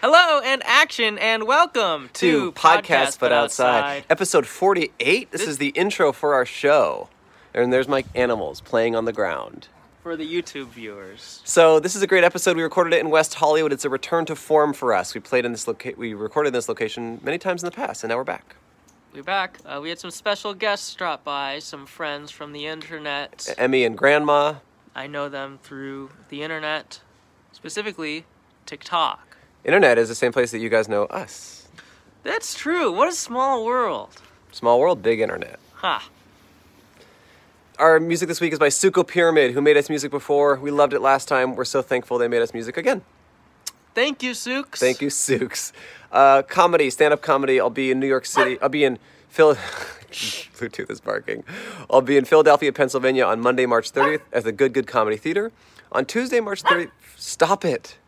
Hello and action and welcome to podcast but outside episode 48 this This- is the intro for our show and there's my animals playing on the ground for the YouTube viewers. so this is a great episode we recorded it in west hollywood it's a return to form for us we played in this loca- we recorded in this location many times in the past and now we're back We're back. Uh, we had some special guests drop by, some friends from the internet. emmy and grandma I know them through the internet, specifically TikTok. internet is the same place that you guys know us That's true. What a small world. small world big internet Ha. our music this week is by Suko Pyramid, who made us music before. We loved it last time. We're so thankful they made us music again. Thank you, Sooks. Thank you, Sooks. Uh, comedy, stand-up comedy. I'll be in New York City. I'll be in Phil. Bluetooth is barking. I'll be in Philadelphia, Pennsylvania on Monday, March 30th at the Good Good Comedy Theater. On Tuesday, March 30th. Stop it.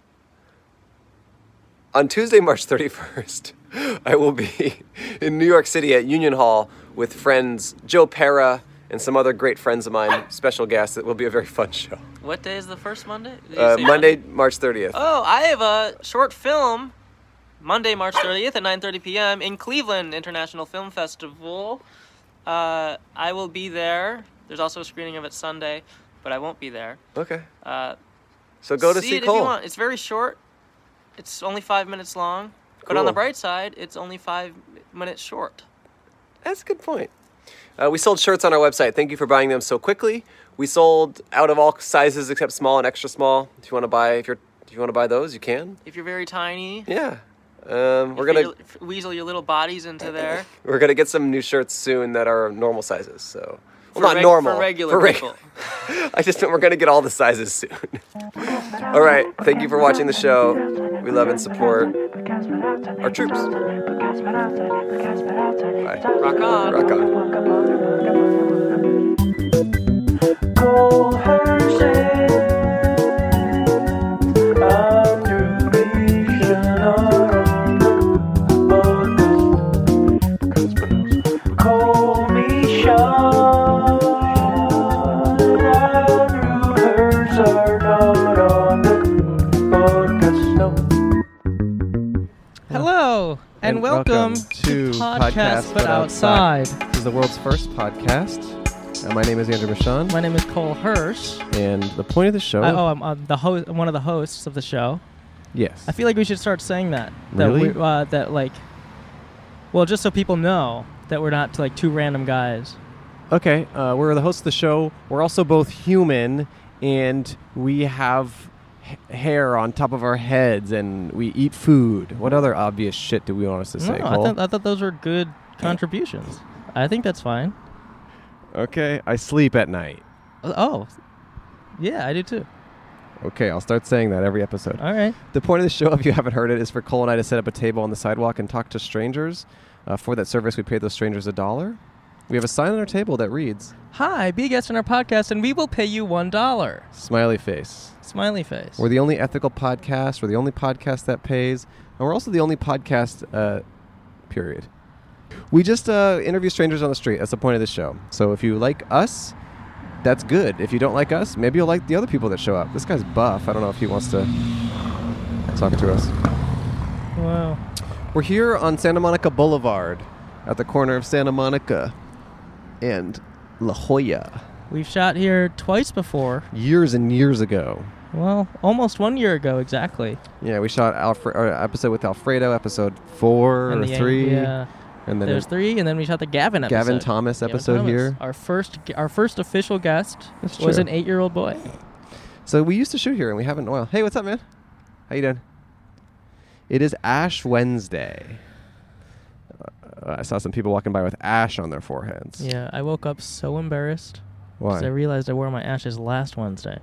On Tuesday, March 31st, I will be in New York City at Union Hall with friends Joe Pera and some other great friends of mine, special guests. It will be a very fun show. What day is the first Monday? Did you Uh, say Monday, March 30th. Oh, I have a short film Monday, March 30th at 9:30 p.m. in Cleveland International Film Festival. Uh, I will be there. There's also a screening of it Sunday, but I won't be there. Okay. Uh, So go to see, see it Cole. if you want. It's very short. It's only five minutes long, but on the Cool. bright side, it's only five minutes short. That's a good point. Uh, we sold shirts on our website. Thank you for buying them so quickly. We sold out of all sizes except small and extra small. If you want to buy, if you're, if you want to buy those, you can. If you're very tiny, Yeah, um, if we're gonna you f- weasel your little bodies into there. we're gonna get some new shirts soon that are normal sizes. So well, For not reg- normal for regular reg- people. I just meant we're gonna get all the sizes soon. all right. Thank you for watching the show. We love and support. our troops. Bye. Rock on. Rock on. on. Cole Hershey, Call me Sean. Our rumors are not on the podcast. No. Hello and, And welcome, welcome to to podcast, but Podcast But outside. Outside. This is the world's first podcast. Uh, my name is Andrew Michon, My name is Cole Hirsch. and the point of the show. I, oh, I'm uh, the ho- I'm one of the hosts of the show. yes. I feel like we should start saying that. That Really? we uh, that like, well, just so people know that we're not like two random guys. okay, uh, we're the hosts of the show. We're also both human, and we have h- hair on top of our heads, and we eat food. What other obvious shit do we want us to say? no, I Cole? thought I thought those were good contributions. I think that's fine. okay, I sleep at night. Uh, Oh, yeah, I do too. Okay, I'll start saying that every episode. All right. The point of the show, if you haven't heard it, is for Cole and I to set up a table on the sidewalk and talk to strangers. Uh, for that service, we pay those strangers a dollar. We have a sign on our table that reads Hi, be a guest on our podcast, and we will pay you one dollar. "Smiley Face." Smiley face. We're the only ethical podcast. We're the only podcast that pays, and we're also the only podcast. Uh, period. We just uh, interview strangers on the street. That's the point of the show. So if you like us, that's good. If you don't like us, maybe you'll like the other people that show up. This guy's buff. I don't know if he wants to talk to us. wow. We're here on Santa Monica Boulevard at the corner of Santa Monica and La Jolla We've shot here twice before. years and years ago. Well, almost one year ago exactly. Yeah, we shot Alfre- or episode with Alfredo, episode four And or the- three, Yeah. and then There's three, and then we shot the Gavin episode. Gavin Thomas Gavin episode Thomas. here. Our first, our first official guest That's was true. an eight-year-old boy. So we used to shoot here, and we haven't in a while. Hey, what's up, man? How you doing? It is Ash Wednesday. Uh, I saw some people walking by with ash on their foreheads. Yeah, I woke up so embarrassed Why? I realized I wore my ashes last Wednesday.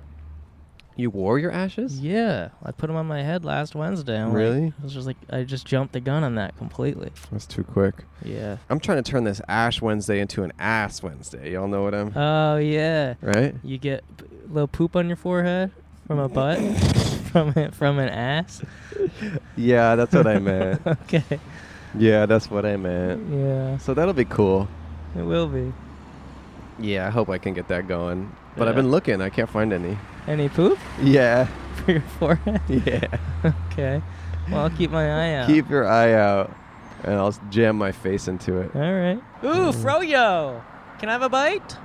you wore your ashes? Yeah, I put them on my head last Wednesday. I'm like- Really? I was just like, I just jumped the gun on that completely. That's too quick. Yeah. I'm trying to turn this Ash Wednesday into an Ass Wednesday. Y'all know what I'm Oh yeah. right? You get p- little poop on your forehead from a butt, from a, from an ass. Yeah, that's what I meant. okay. yeah, that's what I meant. Yeah, So that'll be cool. it will be. Yeah, I hope I can get that going. But I've Yeah. been looking. I can't find any. Any poop Yeah. for your forehead? Yeah. Okay. Well, I'll keep my eye out. Keep your eye out, and I'll s- jam my face into it. All right. Ooh, Mm. Froyo. Can I have a bite?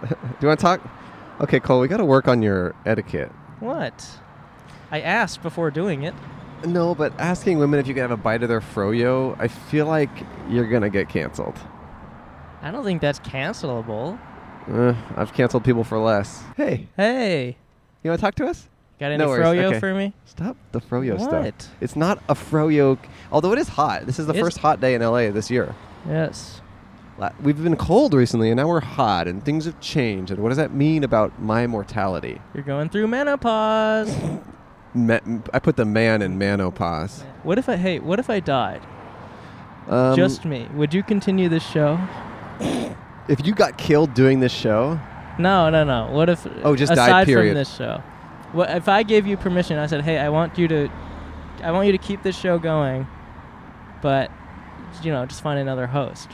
Do you want to talk? Okay, Cole, we got to work on your etiquette. What? I asked before doing it. No, but asking women if you can have a bite of their froyo, I feel like you're gonna get canceled. I don't think that's cancelable. Uh, I've canceled people for less. Hey, Hey, you want to talk to us? got any No worries, Froyo okay. for me? Stop the froyo What? stuff. It's not a froyo. Although it is hot. This is the It's- first hot day in LA this year. Yes. La- We've been cold recently, and now we're hot, and things have changed. And what does that mean about my mortality? You're going through menopause. Ma- I put the man in manopause. what if I? Hey, what if I died? Um, Just me. Would you continue this show? if you got killed doing this show, No, no, no. What if? Oh, just died, aside period. from this show. What if I gave you permission? I said, hey, I want you to, I want you to keep this show going, but, you know, just find another host.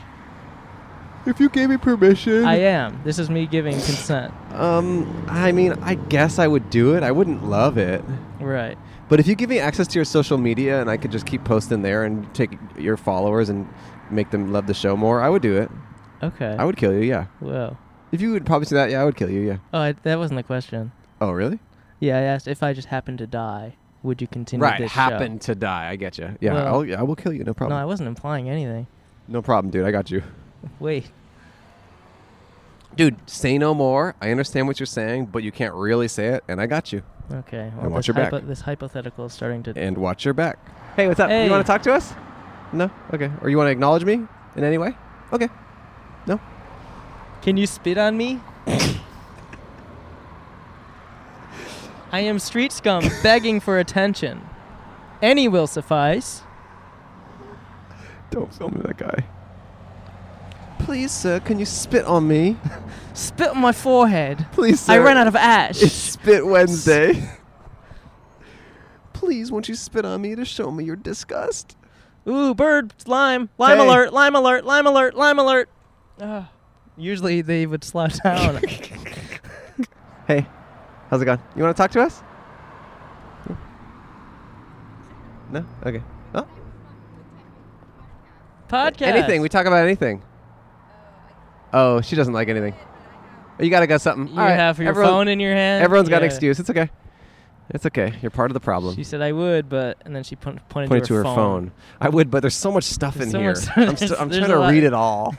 if you gave me permission, I uh, am. This is me giving consent. um, I mean, I guess I would do it. I wouldn't love it. Right. But if you give me access to your social media and I could just keep posting there and take your followers and make them love the show more, I would do it. Okay. I would kill you, yeah. Whoa. If you would probably say that, yeah, I would kill you, yeah. Oh, I, that wasn't the question. Oh, really? Yeah, I asked if I just happened to die, would you continue Right, this happen to die. I get you. Yeah, Well- I'll, yeah, I will kill you. show? No, No I problem. wasn't implying anything. no problem, dude. I got you. Wait. Dude, say no more. I understand what you're saying, but you can't really say it, and I got you. Okay. I Well, want this, your back. hypo- this hypothetical is starting to. And watch your back. Hey, what's up? Hey. You want to talk to us? No? Okay. Or you want to acknowledge me in any way? Okay. No? Can you spit on me? I am street scum begging for attention. Any will suffice. Don't film that guy. Please, sir, can you spit on me? Spit on my forehead. Please, sir. I ran out of ash. It's Spit Wednesday. Please, won't you spit on me to show me your disgust? Ooh, bird, lime, lime Hey. alert, lime alert, lime alert, lime alert. Ugh. usually they would slow down. Hey, how's it going? You want to talk to us? No? Okay. Oh, Podcast. Anything. We talk about anything. Oh, she doesn't like anything. Oh, You got to go something. You All right, have your everyone- phone in your hand. Everyone's got an Yeah. excuse. It's okay. It's okay. You're part of the problem. She said I would, but and then she pun- pointed, Point it to her, phone. I would, but there's so much stuff There's in so here. much- I'm, st- there's- I'm there's trying a to lot. read it all.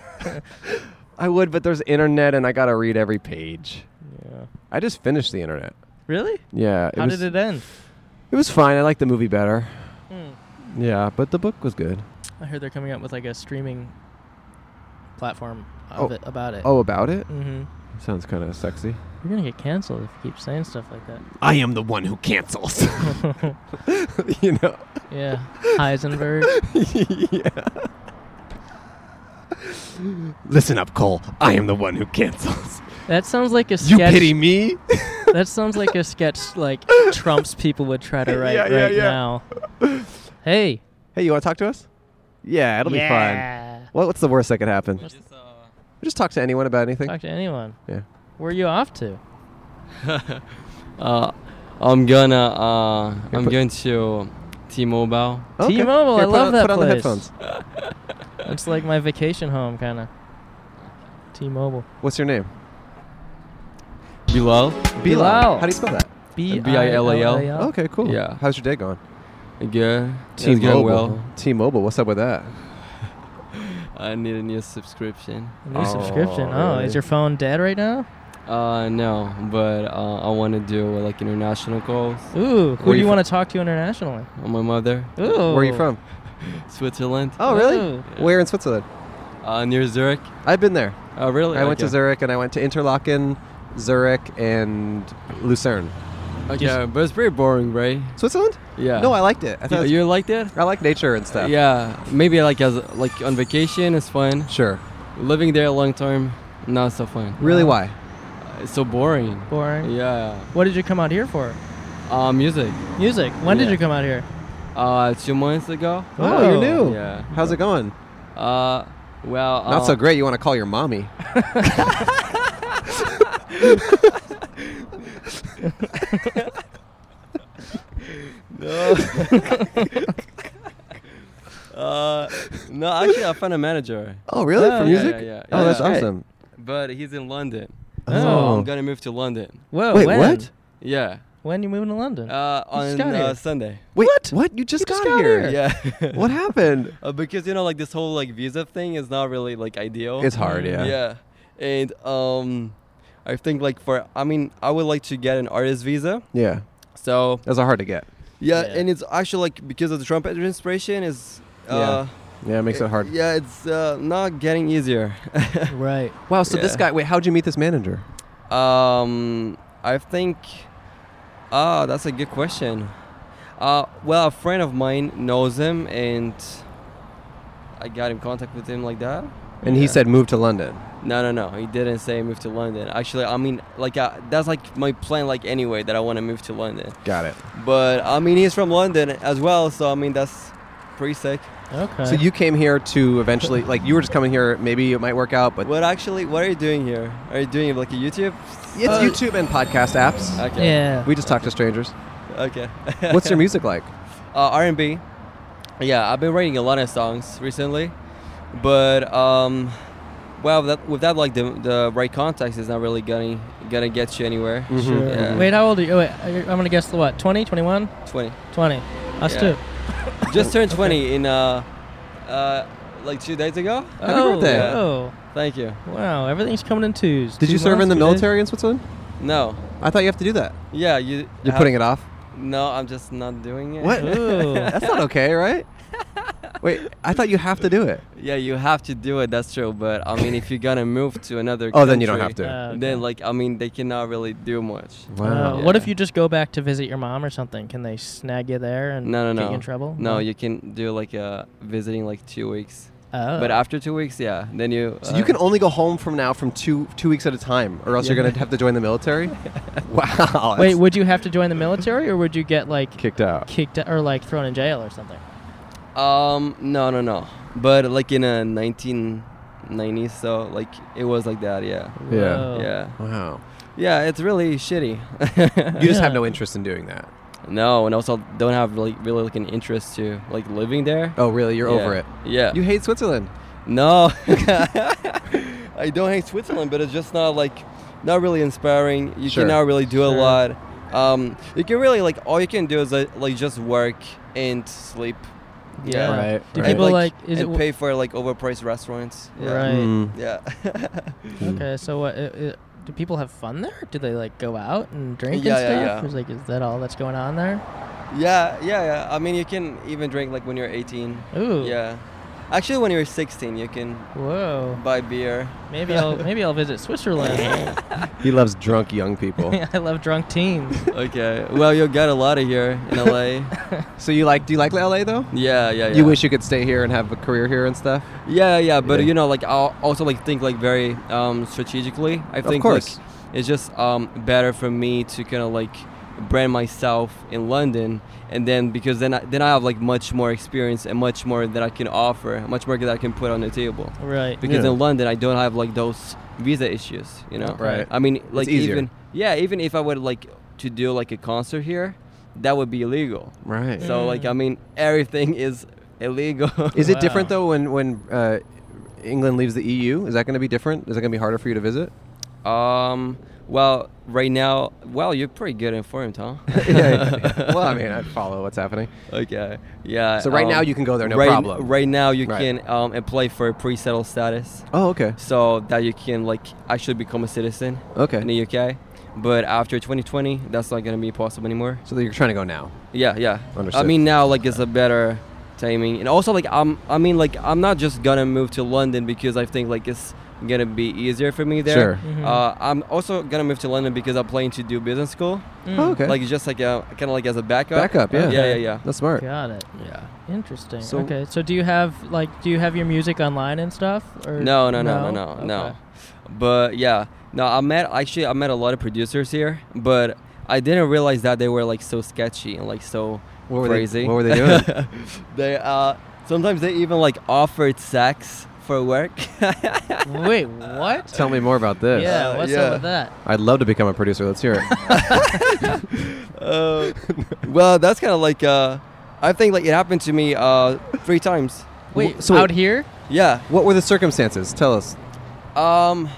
I would, but there's internet, and I gotta read every page. Yeah. I just finished the internet. Really? Yeah. It How was, did it end? It was fine. I liked the movie better. Hmm. Yeah, but the book was good. I heard they're coming up with like a streaming platform of Oh. it, about it. Oh, about it? Mm-hmm. Sounds kind of sexy. You're gonna get canceled if you keep saying stuff like I am the one who cancels. that. you know. yeah, Heisenberg. yeah. Listen up, Cole. I am the one who cancels. That sounds like a You sketch. pity me? That sounds like a sketch like Trump's people would try to write Yeah, yeah, right yeah. now. Hey. Hey, you want to talk to us? Yeah, it'll be fun. What, what's the worst that could happen? Just, talk to anyone about anything. Talk to anyone. Yeah. Where are you off to? Uh, I'm gonna uh, I'm put- going to T-Mobile. Okay. T-Mobile, I put love on, that Put on the place. headphones. It's like my vacation home, kind of. T-Mobile. What's your name? Bilal. Bilal. How do you spell that? B-I-L-A-L. B-I-L-A-L. Okay, cool. Yeah. How's your day going? Good. It's going Well, T-Mobile. What's up with that? I need a new subscription. A New Oh, subscription. Oh, really? is your phone dead right now? Uh, no, but uh, I want to do uh, like international calls. Ooh, who Where do you you from? want to talk to internationally? Uh, My mother, Ooh. Where Oh. are you from? Switzerland. Oh, really? Ooh. Where in Switzerland? Uh, near Zurich. I've been there. Oh, really? I went to Okay. Zurich and I went to Interlaken, Zurich, and Lucerne. Okay, but it's pretty boring, right? Switzerland? Yeah. No, I liked it. I thought You, it's- you liked it? I like nature and stuff. Yeah. Maybe like as like on vacation is fun. Sure. Living there long term, not so fun. Really? Why? It's so boring. Boring. Yeah. What did you come out here for? Uh, music. Music. When did Yeah. you come out here? Uh, two months ago. Oh, you're Oh, new. yeah. How's it going? Uh, well. Not uh, so great. You want to call your mommy? No, uh, no, actually, I found a manager. Oh, really? Oh, yeah, For music? yeah, yeah, oh, that's yeah. Great. awesome. But he's in London. Oh. So I'm gonna move to London. Whoa, Wait, when? what? Yeah. When you moving to London? Uh, on got here. uh, Sunday. Wait, what? You just, got, just got here. Oh, here. Yeah. What happened? Uh, because you know, like this whole like visa thing is not really like ideal. It's hard, yeah. Yeah. And um, I think like for I mean I would like to get an artist visa. Yeah. So That's a hard to get. yeah, Yeah. and it's actually like because of the Trump administration is. Yeah. Uh, Yeah, it makes it hard. Yeah, it's uh, not getting easier. right. Wow, so this Yeah. guy, wait, how'd you meet this manager? Um, I think. Ah, that's a good question. Uh, well, a friend of mine knows him, and I got in contact with him like that. And he Yeah. said, move to London. No, no, no. He didn't say move to London. Actually, I mean, like, uh, that's like my plan, like, anyway, that I want to move to London. Got it. But, I mean, he's from London as well, so, I mean, that's pretty sick. Okay. So you came here to eventually, like, you were just coming here, maybe it might work out, but What actually, what are you doing here? Are you doing, like, a YouTube? Uh, it's YouTube and podcast apps. Okay. Yeah. We just talk to strangers. Okay. What's your music like? uh, R&B. Yeah, I've been writing a lot of songs recently, but um, well, that, with that like the, the right context is not really gonna gonna get you anywhere. Mm-hmm. Sure. Yeah. Wait, how old are you? Oh, wait, I- I'm gonna guess the what? 20, 21, Twenty, 20. Us Yeah. too. just turned twenty in uh, uh, like two days ago. Happy oh, birthday. Oh, Thank you. wow! Everything's coming in twos. Did Two you serve in the months, good. military in Switzerland? No, I thought you have to do that. yeah, you. You're putting it off? No, I'm just not doing it. What? Ooh. That's not okay, right? Wait, I thought you have to do it. Yeah, you have to do it. That's true. But I mean, if you're gonna move to another, Oh, then you don't have country, to. Uh, okay. Then like I mean, they cannot really do much. Uh, Wow. What Yeah. if you just go back to visit your mom or something? Can they snag you there and No, no, get no. you in trouble? No, you can do like uh, visiting like two weeks. Oh. But after two weeks, yeah, then you. So uh, you can only go home from now from two two weeks at a time, or else you're gonna have to join the military. wow. Wait, that's would you have to join the military or would you get like kicked out. kicked out or like thrown in jail or something? Um, no, no, no. But like in a 1990s, so like it was like that, yeah, Yeah. Whoa. yeah, Wow. yeah. It's really shitty. You just have Yeah. no interest in doing that. no, and also don't have like really like an interest to like living there. Oh, really? You're Yeah. over it. Yeah. You hate Switzerland. no. I don't hate Switzerland, but it's just not like not really inspiring. You Sure. cannot really do a Sure. lot. Um, you can really like all you can do is uh, like, like just work and sleep. Yeah. Right, Do right. people like, is it and pay for like overpriced restaurants. Yeah. Right. Mm. Yeah. Okay, so what? i i do people have fun there? Do they like go out and drink Yeah, and yeah, stuff? yeah. Is like, is that all that's going on there? yeah, yeah, yeah. I mean, you can even drink like when you're 18. Ooh. Yeah. Actually, when you're 16, you can Whoa. buy beer. Maybe I'll maybe I'll visit Switzerland. He loves drunk young people. I love drunk teens. Okay. Well, you got a lot of here in LA. so you like? Do you like LA though? yeah, yeah, yeah. You wish you could stay here and have a career here and stuff. Yeah, yeah, but Yeah. you know, like I'll also like think like very um, strategically. I think course. like it's just um, better for me to kind of like brand myself in London, and then because then I, then I have like much more experience and much more that I can offer, much more that I can put on the table. right. Because Yeah. in London, I don't have like those visa issues, you know. Right. I mean, like easier. even yeah, even if I would like to do like a concert here, that would be illegal. Right. So like I mean, everything is illegal. Mm. Is it different Wow. though when when uh, England leaves the EU? Is that going to be different? Is it going to be harder for you to visit? Um. Well, right now, well, you're pretty good informed, huh? Well, I mean, I follow what's happening. okay. Yeah. So right now um, you can go there, no right, problem. Right now you Right. can um, apply for a pre-settled status, Oh, okay. so that you can like actually become a citizen Okay. in the UK. But after 2020, that's not gonna be possible anymore. So you're trying to go now. Yeah, yeah. Understood. I mean, now like it's a better timing, and also like I'm, I mean, like I'm not just gonna move to London because I think like it's gonna be easier for me there. Sure. Mhm. Uh, I'm also gonna move to London because I'm planning to do business school, Hmm. Oh, okay. like just like a kind of like as a backup. Backup, yeah. yeah, yeah, That's smart. Got it. yeah. yeah. Interesting. So- okay. So do you have like do you have your music online and stuff? Or No, no, no, no, no, Okay. no. But yeah, no, I met actually I met a lot of producers here, but I didn't realize that they were like so sketchy and like so What were they- crazy. what were they doing? they uh, sometimes they even like offered sex for work. Wait, what? Tell me more about this. Yeah, Uh, what's yeah. up with that? I'd love to become a producer. Let's hear it. Oh. Uh, well, that's kind of like uh, I think like it happened to me uh, three times. Wait, so out wait. here? Yeah. what were the circumstances? Tell us. Um,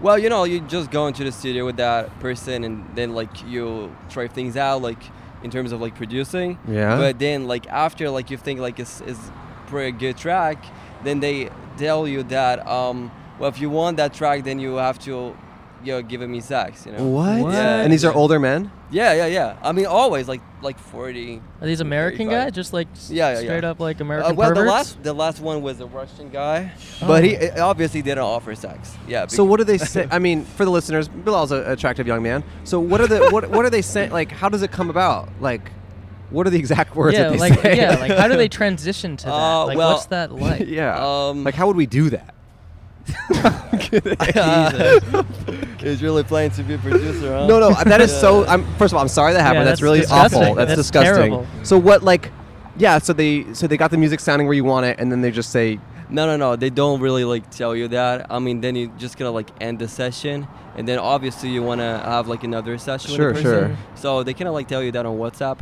well, you know, you just go into the studio with that person, and then like you try things out, like in terms of like producing. Yeah. But then like after, like you think like it's is pretty good track, then they tell you that um, well, if you want that track, then you have to, you know, give me sax. You know. What? Yeah, And these are yeah. older men? Yeah, yeah, yeah. I mean, always like like forty. Are these American 35. guys? Just like s- Yeah, yeah, yeah. straight up like Uh, American well, the perverts? last the last one was a Russian guy, Oh. but he uh, obviously didn't offer sex. Yeah. So bec- what do they say? I mean, for the listeners, Bilal's an attractive young man. So what are the what what are they saying? Like, how does it come about? Like, what are the exact words yeah, that they like say? yeah, like how do they transition to that? Uh, like well- what's that like? yeah. Um, like, how would we do that? He's really playing to be a producer, huh? No, no, that is so. I'm first of all, I'm sorry that happened. Yeah, that's, that's really disgusting. awful. That's, That's disgusting. terrible. So what? Like, yeah. So they so they got the music sounding where you want it, and then they just say, No, no, no. They don't really like tell you that. I mean, then you just gonna like end the session, and then obviously you wanna have like another session. Sure, with the person. sure. So they kind of like tell you that on WhatsApp.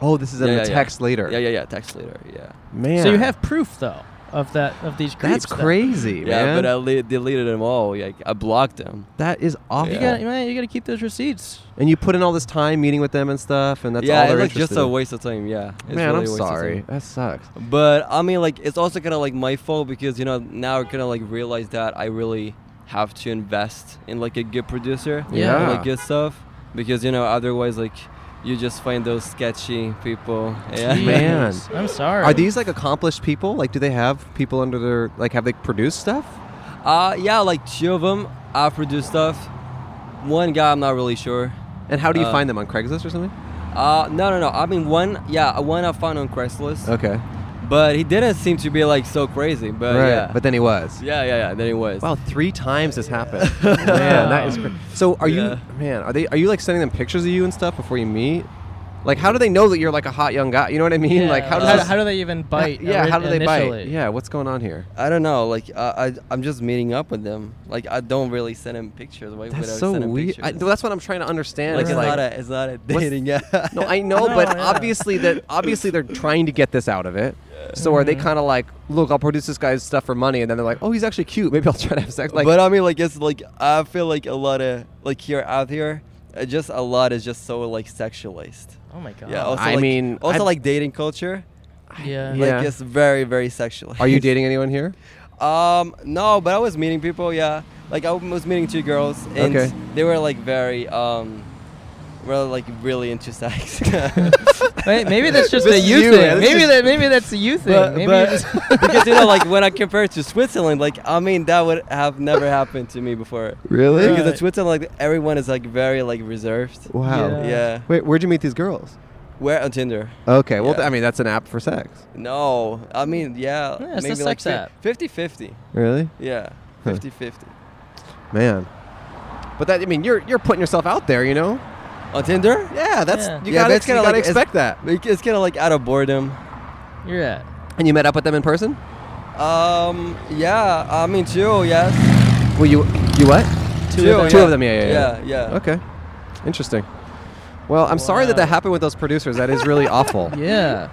"Oh, this is in Yeah, a yeah, yeah. text later." Yeah, yeah, yeah. Text later. Yeah. Man, So you have proof though of that of these creeps. that's that- crazy, Yeah, man. but uh, I le- deleted them all. Like I blocked them. that is awful. You got man, you got to keep those receipts. and you put in all this time meeting with them and stuff, and that's yeah, all it's they're like just interested a in. waste of time. Yeah. It's Man, really I'm a waste of sorry. time. That sucks. But I mean, like it's also kind of like my fault because you know now I kind of like realize that I really have to invest in like a good producer. Yeah. and, like good stuff because you know otherwise like you just find those sketchy people. Yeah. Jeez, Man. I'm sorry. Are these like accomplished people? Like, do they have people under their like? Have they produced stuff? Uh, yeah, like two of them I produce stuff. One guy I'm not really sure. And how do you Uh, find them on Craigslist or something? Uh, no, no, no. I mean one. Yeah, one I found on Craigslist, Okay, but he didn't seem to be like so crazy. But right. Uh, yeah, But then he was. yeah, yeah, yeah. Then he was. Wow, three times this happened. man, that is crazy. So are Yeah. you man, are they are you like sending them pictures of you and stuff before you meet? Like how do they know that you're like a hot young guy? You know what I mean? Yeah, like Uh, how does how, this- how do they even bite? uh, Yeah, how do they bite? initially? Yeah, what's going on here? I don't know. Like I, I, I'm just meeting up with them. Like I don't really send him pictures. Why would I That's so send him weird. pictures? I, that's what I'm trying to understand. like is it's like not a, it's not a dating. Yeah. No, I know, but No, yeah. obviously that obviously they're trying to get this out of it. So are they Mm-hmm. kind of like, look, I'll produce this guy's stuff for money, and then they're like, oh, he's actually cute. Maybe I'll try to have sex. Like, but uh, I mean, like it's like I feel like a lot of like here out here, uh, just a lot is just so like sexualized. Oh my god. Yeah. Also, I like, mean, also I- like dating culture. yeah. Yeah. Like it's very very sexual. are you dating anyone here? Um, no, but I was meeting people. Yeah, like I was meeting two girls, and Okay. they were like very um, were like really into sex. Wait, maybe that's just This a is you you, thing. man. This maybe is- that maybe that's a you thing. But- maybe but- you just- because you know, like when I compare it to Switzerland, like I mean that would have never happened to me before. Really? Because in Right. Switzerland, like everyone is like very like reserved. Wow. Yeah. Yeah, Wait, where'd you meet these girls? we're on Tinder. Okay, well, Yeah. th- I mean, that's an app for sex. No, I mean yeah, Yeah, it's a maybe like sex fi- app. 50-50. Really, Yeah, Huh. 50-50. man. But that, I mean, you're you're putting yourself out there, you know. On Tinder? Yeah, that's Yeah. you Yeah, gotta, that's you kinda gotta like- expect that. Like, It's kind of like out of boredom. you're at. And you met up with them in person? Um, yeah, I mean two, yes. Well, you you what? Two, of them. Two of them, yeah, yeah, yeah. yeah. yeah. Okay, interesting. Well, I'm sorry that that Wow. happened with those producers. That is really awful. Yeah.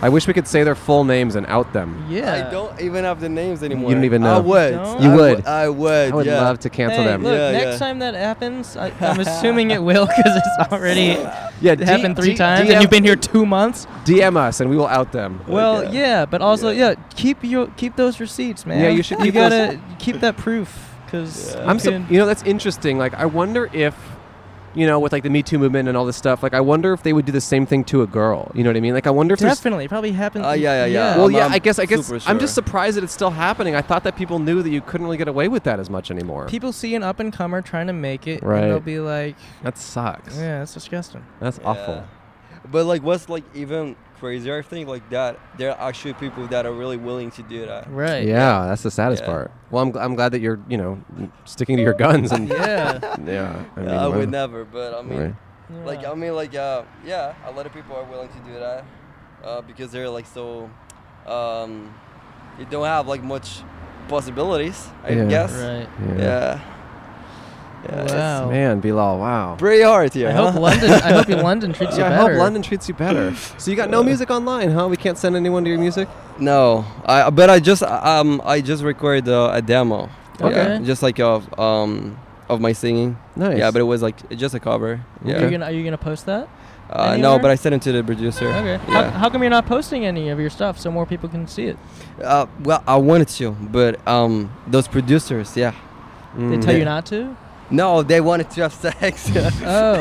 I wish we could say their full names and out them. Yeah. I don't even have the names anymore. don't even I know. would. Don't? You I would. I would. I would yeah. love to cancel Hey, them. Look, Yeah, next yeah. time that happens, I, I'm assuming it will because it's already yeah, it happened three times, DM, and you've been here two months. DM us and we will out them. Well, yeah. yeah, but also, Oh, Yeah. yeah. keep your keep those receipts, man. Yeah, you should You keep those- gotta keep that proof because Yeah. I'm so, you know that's interesting. Like I wonder if you know with like the Me Too movement and all this stuff. Like I wonder if they would do the same thing to a girl. You know what I mean? Like I wonder if there's- definitely it probably happened. Uh, yeah, yeah, yeah. Well, I'm- yeah, I'm I guess I guess super I'm just sure. surprised that it's still happening. I thought that people knew that you couldn't really get away with that as much anymore. people see an up and comer trying to make it, Right. and they'll be like, that sucks. "Yeah, that's disgusting." That's awful. But like, what's like even crazier? I think like that there are actually people that are really willing to do that. Right. Yeah, that's the saddest Yeah. part. Well, I'm, gl- I'm glad that you're, you know, sticking to your guns and Yeah. yeah. I, I, mean, would well, never. But I mean, right. like, I mean, like, uh, yeah, a lot of people are willing to do that uh, because they're like so, um, you don't have like much possibilities, I Yeah. guess. Right. Yeah. Yeah. it's Wow. Man, Bilal, wow. Pretty hard here. I hope huh? London. I hope you London treats you Yeah, I better. hope London treats you better. So you got no music online, huh? We can't send anyone to your music. No, I but I just um I just recorded uh, a demo. Okay. Yeah, just like of um of my singing. Nice. Yeah, but it was like just a cover. Yeah. Are you gonna Are you gonna post that? uh, no, anywhere? but I sent it to the producer. Okay. How, Yeah. how come you're not posting any of your stuff so more people can see it? Uh, well, I wanted to, but um those producers, yeah. They Mm. tell Yeah. you not to. No, they wanted to have sex. Oh.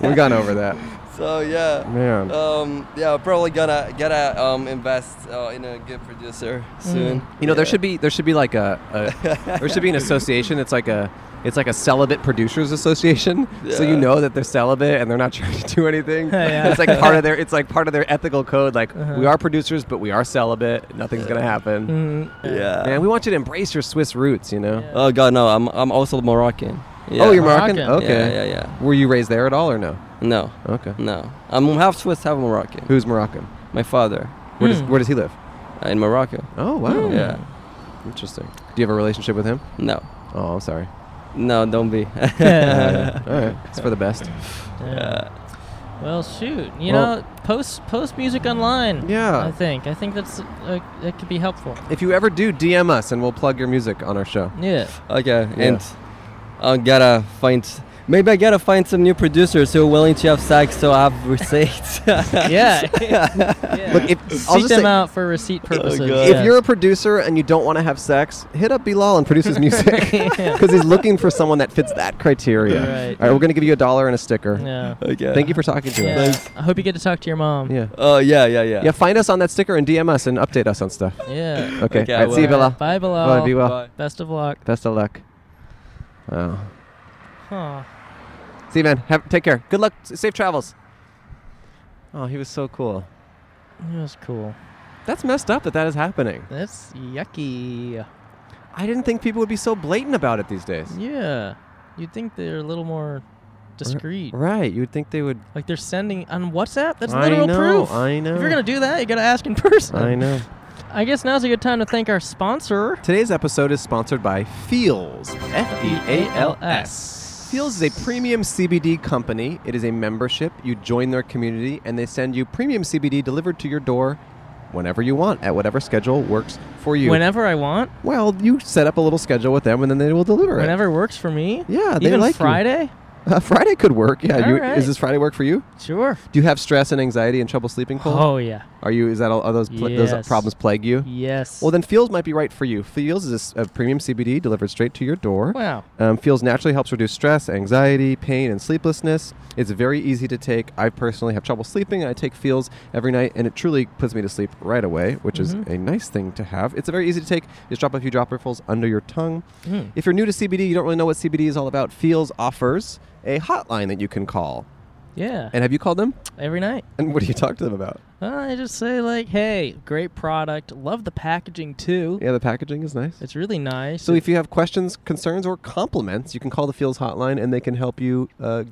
we got over that. so yeah. Man. Um, yeah, probably gonna gotta um, invest uh, in a good producer soon. Mm. You know, there should be there should be like a, a there should be an association. It's like a it's like a celibate producers association. So you Yeah. know that they're celibate and they're not trying to do anything. Yeah. It's like part of their it's like part of their ethical code. Like Uh-huh. we are producers, but we are celibate. Nothing's gonna happen. Mm, Yeah. Man, we want you to embrace your Swiss roots. You know. Yeah. Oh God, no! I'm I'm also Moroccan. Oh, Yeah. you're Moroccan. Moroccan. Okay. Yeah, yeah, yeah. Mm. Were you raised there at all or no? No, Okay. no. I'm half Swiss, half Moroccan. Who's Moroccan? My father Where does Hmm. where does he live? uh, in Morocco. Oh Mm. wow. Yeah. Interesting. Do you have a relationship with him? No, Oh, I'm sorry. no, don't be. Uh, all right. It's for the best. yeah. Well, shoot. You Well- know, post post music online. Yeah. I think I think that's uh, that could be helpful. If you ever do, DM us and we'll plug your music on our show. Yeah. okay, and I gotta find. Maybe I gotta find some new producers who are willing to have sex, so I have receipts. yeah. yeah. Look, if, I'll Seek just them say, Oh, out for receipt purposes. God. yeah. if you're a producer and you don't want to have sex, hit up Bilal and produce his music because he's looking for someone that fits that criteria. Right. All right, we're gonna give you a dollar and a sticker. yeah. okay. Thank you for talking to Yeah. us. I hope you get to talk to your mom. Yeah. Oh yeah, yeah, yeah. Yeah. Find us on that sticker and DM us and update us on stuff. Yeah. Okay. Okay, all I right, see you, will. Bilal. Bye, Bilal. Bye. Be well. Bye. Best of luck. Best of luck. Wow. Huh. See you, man. Have, take care. Good luck. S- Safe travels. Oh, he was so cool. That was cool. That's messed up that that is happening. That's yucky. I didn't think people would be so blatant about it these days. Yeah. You'd think they're a little more discreet. Right. You would think they would. Like they're sending on WhatsApp? That's I literal know, proof. I know. If you're going to do that, you got to ask in person. I know. I guess now's a good time to thank our sponsor. Today's episode is sponsored by Feels. F E A L S. Feels is a premium CBD company. It is a membership. You join their community, and they send you premium CBD delivered to your door whenever you want at whatever schedule works for you. Whenever I want, well, you set up a little schedule with them, and then they will deliver whenever works for me. Yeah, they Even like you. Friday? it. Uh, Friday could work. Yeah. All You, right. Is this Friday work for you? Sure. Do you have stress and anxiety and trouble sleeping? Cole? Oh, yeah. Are you? Is that all? Are those pl- those Yes. problems plague you? Yes. Well, then Feels might be right for you. Feels is a s- a, premium CBD delivered straight to your door. Wow. Um, Feels naturally helps reduce stress, anxiety, pain, and sleeplessness. It's very easy to take. I personally have trouble sleeping. I take Feels every night, and it truly puts me to sleep right away, which Mm-hmm. is a nice thing to have. It's very easy to take. Just drop a few dropperfuls under your tongue. Hmm. If you're new to CBD, you don't really know what CBD is all about. Feels offers a hotline that you can call. Yeah. And have you called them? Every night. And what do you talk to them about? Well, I just say, like, hey, great product. Love the packaging, too. Yeah, the packaging is nice. It's really nice. So if you have questions, concerns, or compliments, you can call the Fields Hotline, and they can help you uh,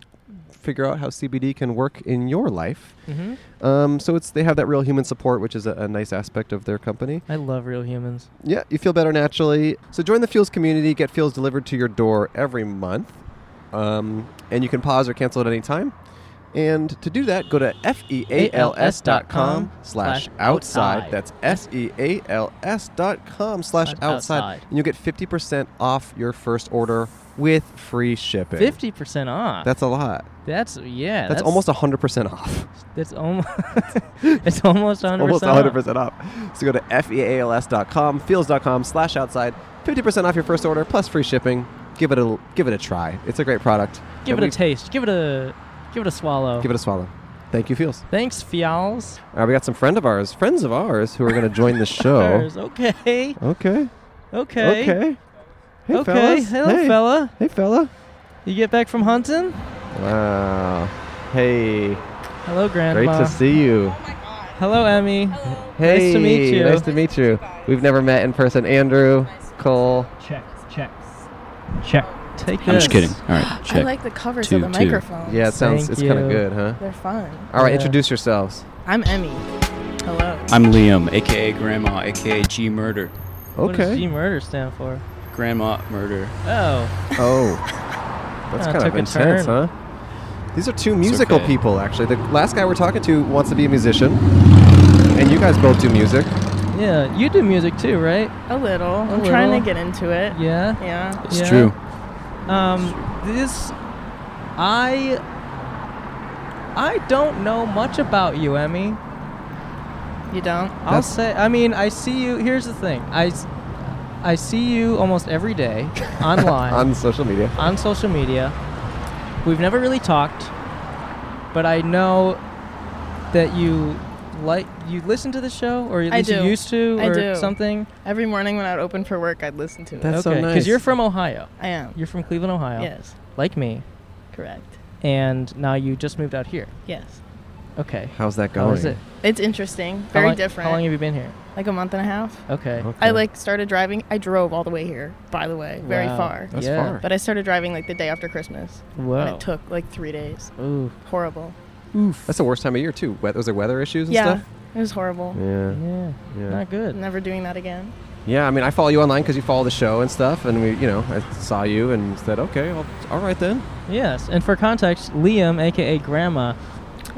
figure out how CBD can work in your life. Mhm. Um, so it's they have that real human support, which is a, a nice aspect of their company. I love real humans. Yeah, you feel better naturally. So join the Fields community. Get Fields delivered to your door every month, um, and you can pause or cancel at any time. And to do that, go to E feals dot com slash outside. E That's S E A L S dot com slash outside. Outside. And you'll get 50% off your first order with free shipping. Fifty percent off. That's a lot. that's yeah. That's, almost almost 100% off. That's almost. it's almost hundred Almost percent. 100% off. So go to E feals.com, fields.com slash outside. 50% off your first order plus free shipping. Give it a give it a try. It's a great product. Give it And a we- taste. Give it a. Give it a swallow. Give it a swallow. Thank you, Fields. Thanks, Fials. All right, we got some friend of ours, friends of ours, who are going to join the show. There's- Okay. Okay. Okay. Oh. Okay. Hey, okay. fellas. Hello, hey. fella. Hey, fella. You get back from hunting? Wow. Hey. Hello, Great Grandma. to see you. Hello, Emmy. Nice Hey. to meet you. Nice to meet you. We've never met in person. Andrew, Cole. Check. Check. Check. Take this. I'm just kidding. All right, check. I like the covers Two, of the two. microphones. Yeah, it sounds, Thank it's kind of you. good, huh? They're fun. All right, Yeah. introduce yourselves. I'm Emmy. Hello. I'm Liam, aka Grandma, aka G Murder. What does G Okay. murder stand for? Grandma murder. Oh, Oh, Kinda that's kind of took a intense, huh? turn. These are two musical okay. people, actually. The last guy we're talking to wants to be a musician, and you guys both do music. yeah. You do music too, right? A little. I'm little. trying to get into it. Yeah. Yeah. It's Yeah. true. Um, this, I, I don't know much about you, Emmy. You don't? I'll That's- say. I mean, I see you. Here's the thing. I, s- I see you almost every day online on social media. on social media. We've never really talked, but I know that you like you listen to the show, or at I least you do. used to, I or do. something. Every morning when I would open for work, I'd listen to it. That's so okay, nice. you're from Ohio. I am. You're from Cleveland, Ohio, Yes. like me, Correct. and now you just moved out here. Yes. Okay. How's that going? How is it? It's interesting. How Very long- different. How long have you been here? like a month and a half. Okay. I like started driving. I drove all the way here, by the way, very Wow. far. That's yeah. far. But I started driving like the day after Christmas. And Wow. it took like three days. Ooh. Horrible. That's the worst time of year too. We- those are weather issues and yeah. stuff. It was horrible. Yeah. Yeah. Yeah. Not good. Never doing that again. Yeah. I mean, I follow you online because you follow the show and stuff, and we, you know, I saw you and said, okay, well, all right then. Yes, and for context, Liam, aka Grandma,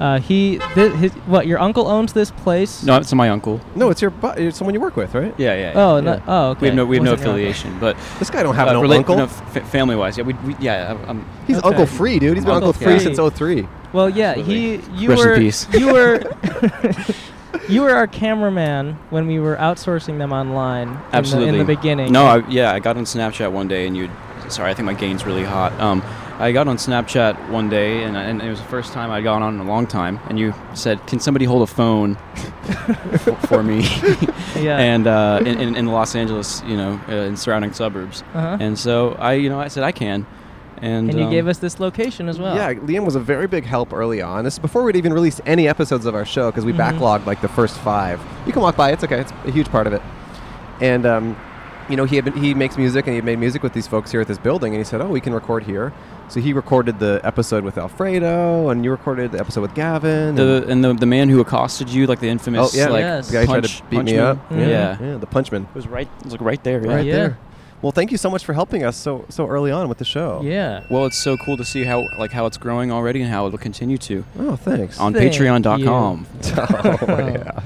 uh, he thi his what your uncle owns this place. No, it's my uncle. No, it's your, bu- it's someone you work with, right? Yeah, yeah. yeah. Oh, Yeah. no, oh, okay. We have no, we have no Wasn't your uncle. affiliation, but This guy don't have no rela- uncle. Uh, No, f- family-wise, yeah, we, we yeah. I- I'm, He's Okay. uncle free, dude. He's been uncle, Uncle free free. since 03. Well, yeah, Absolutely. he you Rest in were peace. you were you were our cameraman when we were outsourcing them online. in the- in absolutely the, beginning. No, I, yeah, I got on Snapchat one day, and you. Sorry, I think my gain's really hot. Um, I got on Snapchat one day, and, and it was the first time I'd gone on in a long time. And you said, "Can somebody hold a phone for, for me?" yeah. and uh, in, in, in Los Angeles, you know, uh, in surrounding suburbs. uh-huh. and, And so I, you know, I said I can, and you um, gave us this location as well. Yeah, Liam was a very big help early on. This is before we'd even released any episodes of our show because we backlogged like the first five. You can walk by; it's okay. It's a huge part of it. And um, you know, he had been, he makes music and he had made music with these folks here at this building. And he said, "Oh, we can record here." So he recorded the episode with Alfredo, and you recorded the episode with Gavin. and- Oh, the and the, the man who accosted you, like Oh, the infamous, yeah. like Yes. the guy who tried punch- to beat punch me man. up. Mhm. Yeah. yeah, the Punchman. It was right. It was like right there. Yeah. Right Yeah. there. Well, thank you so much for helping us so so early on with the show. Yeah. Well, it's so cool to see how like how it's growing already and how it'll continue to Oh, thanks. on Thank Patreon.com. oh,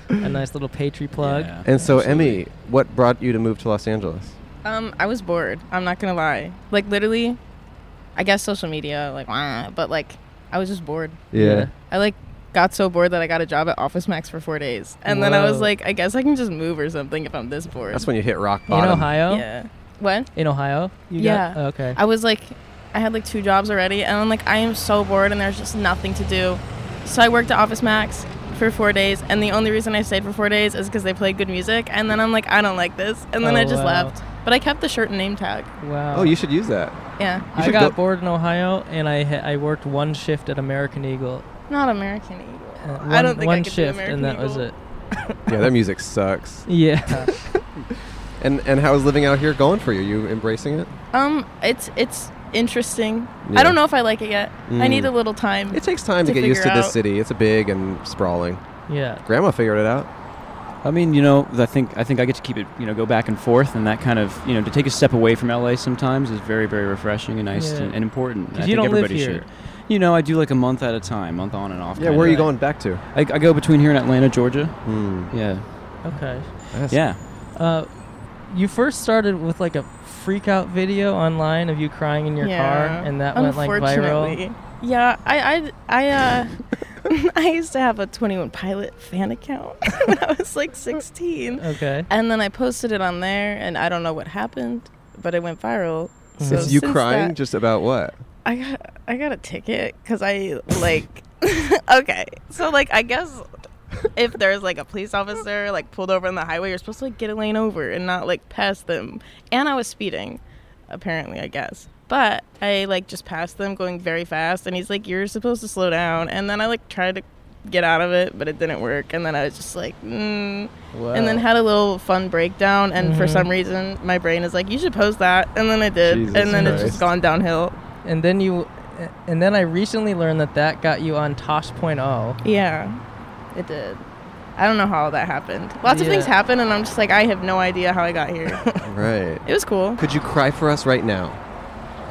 yeah. A nice little Patreon plug. Yeah, And so, absolutely. Emmy, what brought you to move to Los Angeles? Um, I was bored. I'm not gonna lie. Like literally, I guess social media, like, wah, but like, I was just bored. Yeah. I like got so bored that I got a job at Office Max for four days, and then I was Whoa. like, I guess I can just move or something if I'm this bored. That's when you hit rock In bottom. Ohio. Yeah. What? In Ohio. You Yeah. Got, okay. I was like, I had like two jobs already, and I'm like, I am so bored, and there's just nothing to do. So I worked at Office Max for four days, and the only reason I stayed for four days is because they played good music, and then I'm like, I don't like this, and then Oh, I just wow. left. But I kept the shirt and name tag. wow. Oh, you should use that. Yeah, I should got go- bored in Ohio, and I ha- I worked one shift at American Eagle. not American Eagle. Uh, one, I don't think one I could do shift, American and that was Eagle. it. Yeah, their music sucks. Yeah. And and how is living out here going for you? You embracing it? Um, it's it's interesting. Yeah. I don't know if I like it yet. I Mm. need a little time. It takes time to, To get used to figure this out. city. It's big and sprawling. yeah. Grandma figured it out. I mean, you know, I think I think I get to keep it, you know, go back and forth, and that kind of, you know, to take a step away from LA sometimes is very, very refreshing and nice Yeah. and, and important. And I 'Cause you think don't live everybody here. should. You know, I do like a month at a time, month on and off. Yeah, kinda. where are you going back to? I, I go between here and Atlanta, Georgia. Hmm. Yeah, Okay. That's- yeah. Uh, you first started with like a freak out video online of you crying in your car, and that went like viral. Unfortunately. Yeah, I I I uh, I used to have a Twenty One Pilot fan account when I was like sixteen, Okay. and then I posted it on there, and I don't know what happened, but it went viral. So It's you since crying that- just about what? I got I got a ticket because I like okay. So like I guess if there's like a police officer like pulled over on the highway, you're supposed to like get a lane over and not like pass them. And I was speeding, apparently I guess. But I like just passed them going very fast, and he's like, "You're supposed to slow down." And then I like tried to get out of it, but it didn't work. And then I was just like, mm. and then had a little fun breakdown. And for Mhm. some reason, my brain is like, "You should post that." And then I did, Mm-hmm. Jesus and then it's Christ. just gone downhill. And then you, and oh. then I recently learned that that got you on Tosh.0. Yeah, it did. I don't know how all that happened. Lots of things Yeah. happened, and I'm just like, I have no idea how I got here. Right. it was cool. Could you cry for us right now?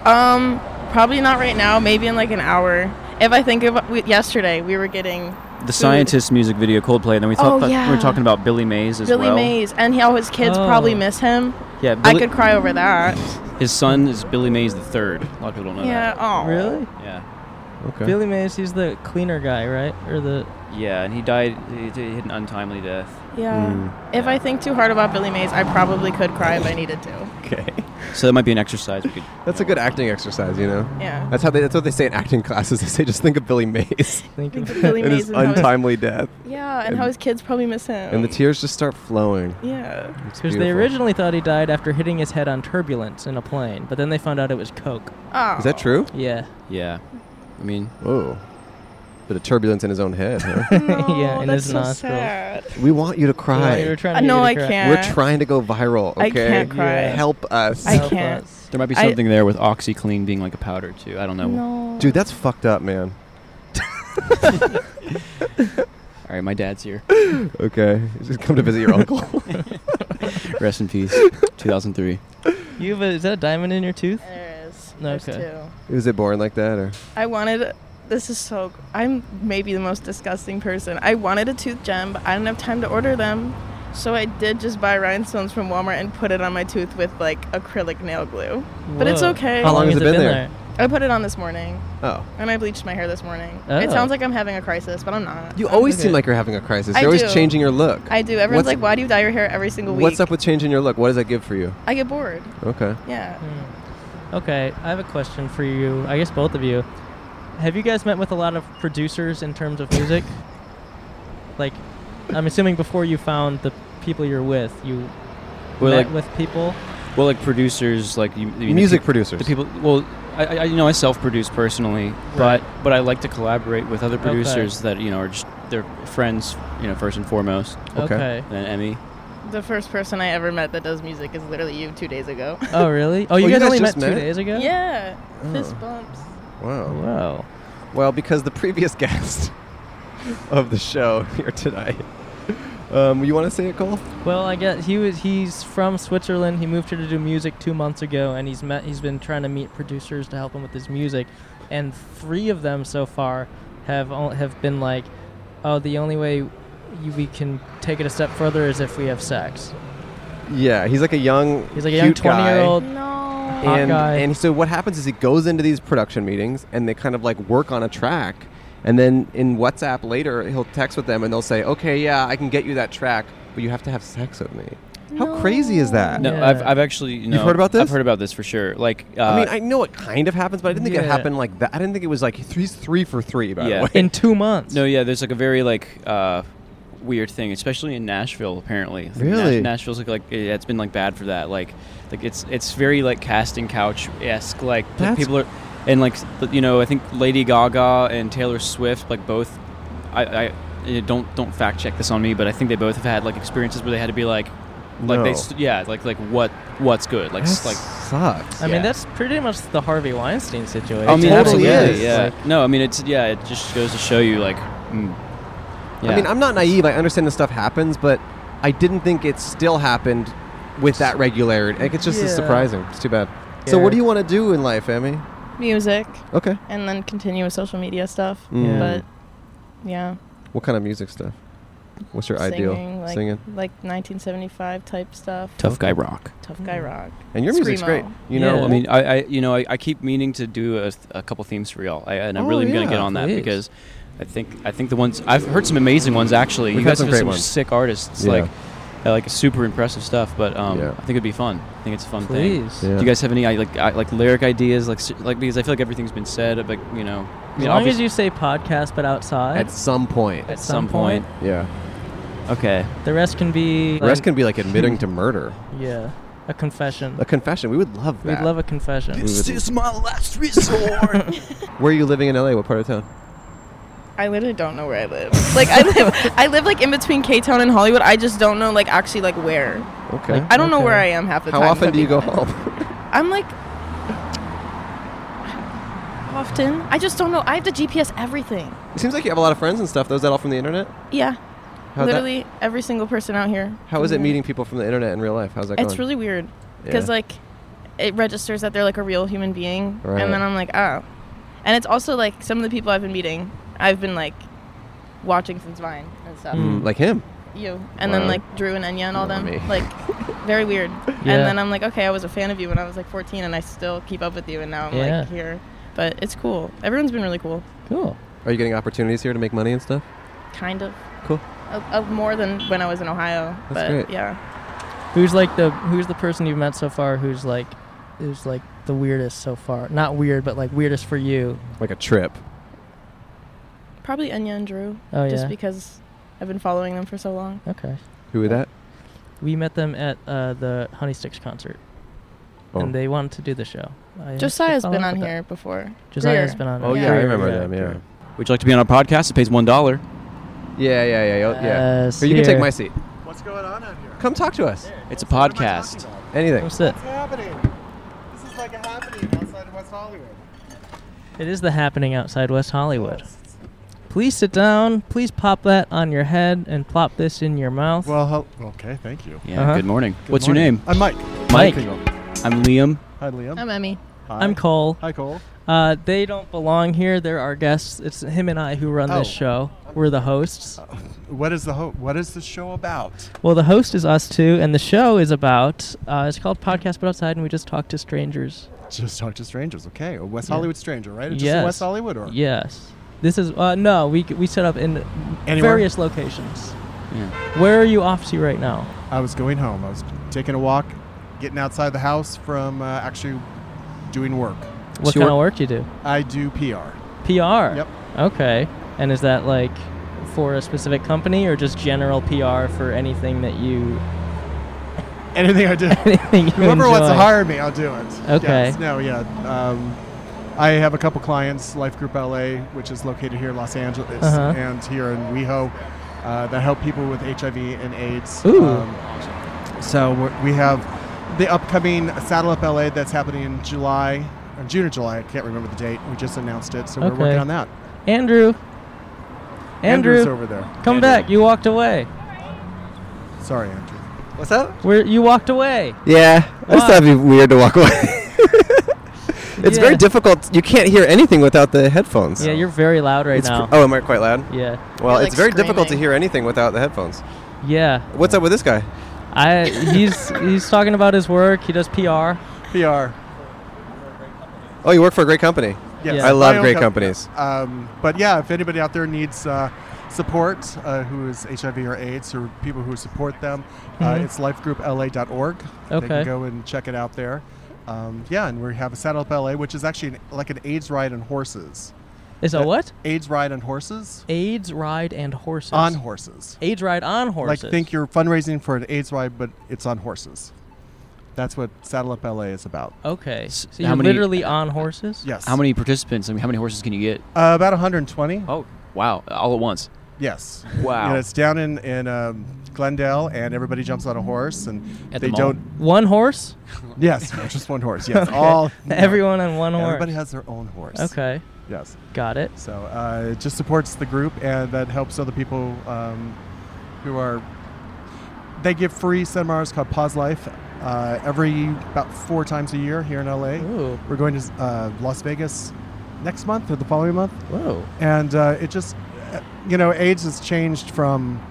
Um, probably not right now. Maybe in like an hour. If I think of we, yesterday, we were getting The scientist music video Coldplay, and then we thought Oh, thought- we yeah. were talking about Billy Mays as Billy well. Mays, and how his kids Oh. probably miss him. Yeah, I Billy, could cry over that. his son is Billy Mays the third. A lot of people don't know Yeah. Oh. Really? that. Yeah, Okay. Billy Mays, he's the cleaner guy, right? Or the yeah, and he died. He, he had an untimely death. Yeah. If I think too hard about Billy Mays, I probably could cry if I needed to. Okay. So that might be an exercise. We could, That's a good acting exercise, you know. Yeah. That's how they. That's what they say in acting classes. They say just think of Billy Mays think Think of of Billy and Mays his and how his, untimely death, yeah, and how his kids probably miss him. and the tears just start flowing. yeah. It's because they beautiful. originally thought he died after hitting his head on turbulence in a plane, but then they found out it was coke. Oh. Is that true? Yeah. yeah, I mean, Whoa. Bit of turbulence in his own head. Huh? No, Yeah, and that's his so nostrils. sad. we want you to cry. Yeah, they were trying Uh, to get no, you to I cry. can't. We're trying to go viral. Okay. I can't cry. Yeah. Help us. I Help can't. us. there might be I- something there with OxyClean being like a powder too. I don't know. No. Dude, that's fucked up, man. All right, my dad's here. Okay. Just come to visit your uncle. Rest in peace. 2003. You have a, is that a diamond in your tooth? There is. No, There's okay. two. Was it born like that or? I wanted. This is so. I'm maybe the most disgusting person. I wanted a tooth gem, but I didn't have time to order them. So I did just buy rhinestones from Walmart and put it on my tooth with like acrylic nail glue. But it's Whoa. okay. How long has it been there? I put it on this morning, Oh. and I bleached my hair this morning. Oh. It sounds like I'm having a crisis, but I'm not. You always okay. seem like you're having a crisis. You're I always do. changing your look. I do. Everyone's What's- like, "Why do you dye your hair every single week?" What's up with changing your look? What does that give for you? I get bored. Okay. Yeah. Hmm. Okay, I have a question for you. I guess both of you. Have you guys met with a lot of producers in terms of music? like, I'm assuming before you found the people you're with, you Well, met like, with people. well, like producers, like you, you mean the Music peop- producers. The people. Well, I, I you know I self-produce personally, but but I like to collaborate with other Okay. producers that you know are just they're friends. You know, first and foremost, Okay. and then Emmy. The first person I ever met that does music is literally you two days ago. Oh, really? Oh, Oh, you, you guys, guys only met, just two met? days ago? Oh, Yeah. Fist bumps. Wow. Wow. Well, because the previous guest of the show here tonight. Um, you want to say it, Cole? Well, I guess he was. He's from Switzerland. He moved here to do music two months ago, and he's met. He's been trying to meet producers to help him with his music, and three of them so far have o- have been like, "Oh, the only way you, we can take it a step further is if we have sex." Yeah, he's like a young, He's like a young cute guy. twenty-year-old. No. hot and, guy. And so what happens is he goes into these production meetings and they kind of like work on a track. And then in WhatsApp later, he'll text with them and they'll say, okay, yeah, I can get you that track, but you have to have sex with me. How crazy is that? No, Yeah. I've, I've actually you know, heard about I've this? heard about this for sure. Like, uh, I mean, I know it kind of happens, but I didn't think it Yeah. happened like that. I didn't think it was like three, three for three, by Yeah. the way. In two months. no, yeah, there's like a very like uh, weird thing, especially in Nashville. Apparently, I think Nash- Really? Nashville's like like yeah, it's been like bad for that. Like, like it's it's very like casting couch esque. Like, like, That's- people are and like th- you know, I think Lady Gaga and Taylor Swift like both. I, I eh, don't don't fact check this on me, but I think they both have had like experiences where they had to be like, like No. they st- yeah, like like what what's good, like s- That like sucks. I mean, Yeah. that's pretty much the Harvey Weinstein situation. I mean, totally absolutely, is. yeah. Like, no, I mean, it's yeah. It just goes to show you, like, mm, yeah. I mean, I'm not naive. I understand this stuff happens, but I didn't think it still happened with that regularity. Like, it's just Yeah. surprising. It's too bad. So, Yeah. what do you want to do in life, Emmy? Music, Okay. and then continue with social media stuff. Mm. But yeah, What kind of music stuff? What's your singing ideal like singing? like 1975 type stuff. tough guy rock. Tough guy rock. And your music's Screamo. great. You Yeah. know, I mean, I, I you know, I, I keep meaning to do a, a couple themes for y'all, I, and I'm Oh, really gonna yeah, get on that please. because I think I think the ones I've heard some amazing ones actually. We've you had guys some have great some ones. sick artists, Yeah. like uh, like super impressive stuff. But um, Yeah. I think it'd be fun. I think it's a fun thing. Please. Yeah. Do you guys have any I, like I, like lyric ideas, like s- like because I feel like everything's been said, like you know, I As mean, long as obvious- you say podcast, but outside. at some point. at some point. Yeah. okay, The rest can be. The Rest can be like admitting to murder, Yeah. A confession. a confession. We would love We'd that. love a confession. We would- my last resort. Where are you living in LA? What part of town? I literally don't know where I live. Like I live, I live like in between K Town and Hollywood. I just don't know like actually like where. Okay. I don't know where I Okay. am half the How time. often but do you go because- home? I'm like often. I just don't know. I have to GPS everything. it seems like you have a lot of friends and stuff. Though is that all from the internet? Yeah. How'd that- Literally every single person out here. how is it Yeah. meeting people from the internet in real life? How's that going? It's really weird because Yeah. like it registers that they're like a real human being, Right. and then I'm like, oh. And it's also like some of the people I've been meeting, I've been like watching since Vine and stuff. Mm, like him. You and Wow. then like Drew and Enya and all them, Not me. like very weird. Yeah. And then I'm like, okay, I was a fan of you when I was like 14, and I still keep up with you, and now I'm Yeah. like here. But it's cool. Everyone's been really cool, Cool. Are you getting opportunities here to make money and stuff? kind of. Cool. Of, of more than when I was in Ohio, That's but great. yeah, Who's like the who's the person you've met so far who's like who's like the weirdest so far? Not weird, but like weirdest for you. Like a trip. probably Enya and Drew, Oh just yeah. because I've been following them for so long. okay. Who would that? We met them at uh, the Honey Sticks concert, Oh. and they wanted to do the show. I asked to Josiah's follow been up on with here before. that. Josiah's Greer. been on. Oh it. yeah, I Greer. remember Yeah. them. Yeah. Would you like to be on our podcast? It pays one dollar. Yeah, yeah, yeah, yeah. yeah. Yes, Or you can take Uh, here. my seat. What's going on out here? Come talk to us. It's a podcast. Anything. Come sit. What's happening? This is like a happening outside of West Hollywood. It is the happening outside West Hollywood. Please sit down. Please pop that on your head and plop this in your mouth. Well, hel- okay, thank you. Yeah. Uh-huh. Good morning. Good What's your morning. name? I'm Mike. Mike. Pingle. I'm Liam. Hi, Liam. I'm Emmy. Hi. I'm Cole. Hi, Cole. Uh, they don't belong here. They're our guests. It's him and I who run this Oh. show. We're the hosts. What is the ho- what is the show about? Well, the host is us too, and the show is about. Uh, it's called Podcast But Outside, and we just talk to strangers. Just talk to strangers, okay? A West Yeah. Hollywood stranger, right? Just Yes. a West Hollywood or Yes. This is uh, no. We we set up in Anywhere? various locations. Yeah. Where are you off to right now? I was going home. I was taking a walk, getting outside the house from uh, actually doing work. What So kind we're- of work do you do? I do PR. PR. Yep. Okay. And is that like for a specific company or just general PR for anything that you Anything I do. anything you Whoever enjoy? wants to hire me, I'll do it. Okay. Yes, no, yeah. Um, I have a couple clients, Life Group LA, which is located here in Los Angeles Uh-huh. and here in WeHo, uh, that help people with HIV and AIDS. Um, Ooh. so we're, we have the upcoming Saddle Up LA that's happening in July, or June or July. I can't remember the date. We just announced it, so we're Okay. working on that. Andrew. Andrew, Andrew's over there. come back. You walked away. Sorry, Andrew. What's up? Where you walked away. Yeah, I just Why? thought it'd be weird to walk away. it's Yeah. very difficult. You can't hear anything without the headphones. Yeah, you're very loud right It's pr- now. oh, am I quite loud? Yeah. Well, You're, it's like, very difficult to screaming. hear anything without the headphones. Yeah. What's up with this guy? I he's he's talking about his work. He does PR. PR. Oh, you work for a great company. Yes. Yeah. I love My own great company. companies. Um, but yeah, if anybody out there needs uh, support, uh, who is HIV or AIDS, or people who support them, uh, Mhm. it's lifegroupla.org. They Okay. can go and check it out there. Um, yeah, and we have a Saddle Up LA, which is actually an, like an AIDS ride on horses. Is a That- what? AIDS ride on horses? AIDS ride and horses. On horses. AIDS ride on horses. Like think you're fundraising for an AIDS ride, but it's on horses. That's what Saddle Up LA is about. Okay. So how you're many- literally on horses. Yes. How many participants? I mean, how many horses can you get? Uh, about 120. Oh, wow! All at once. Yes. Wow. You know, it's down in in um, Glendale, and everybody jumps on a horse, and At they the mall? don't. One horse. Yes, just one horse. Yes, all. no. Everyone on one horse. Everybody has their own horse. Okay. Yes. Got it. So uh, it just supports the group, and that helps other people um, who are. They give free seminars called Pause Life uh, every about four times a year here in LA. Ooh. We're going to uh, Las Vegas next month or the following month Whoa. and uh, it just you know aids has changed from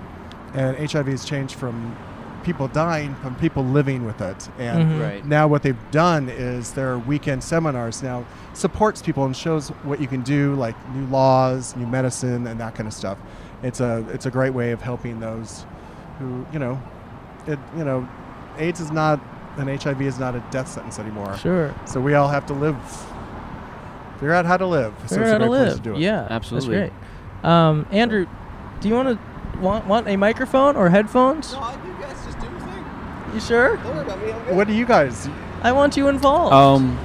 and hiv has changed from people dying from people living with it and Mhm. Right. now what they've done is their weekend seminars now supports people and shows what you can do like new laws new medicine and that kind of stuff it's a it's a great way of helping those who you know it you know aids is not and hiv is not a death sentence anymore Sure. so we all have to live figure out how to live so Figure it's a out how to great place live. to do it Yeah. Absolutely. That's great. Um, Andrew, do you want to want want a microphone or headphones? you guys just do your thing. You sure? Don't worry about me. What do you guys? I want you involved. Um.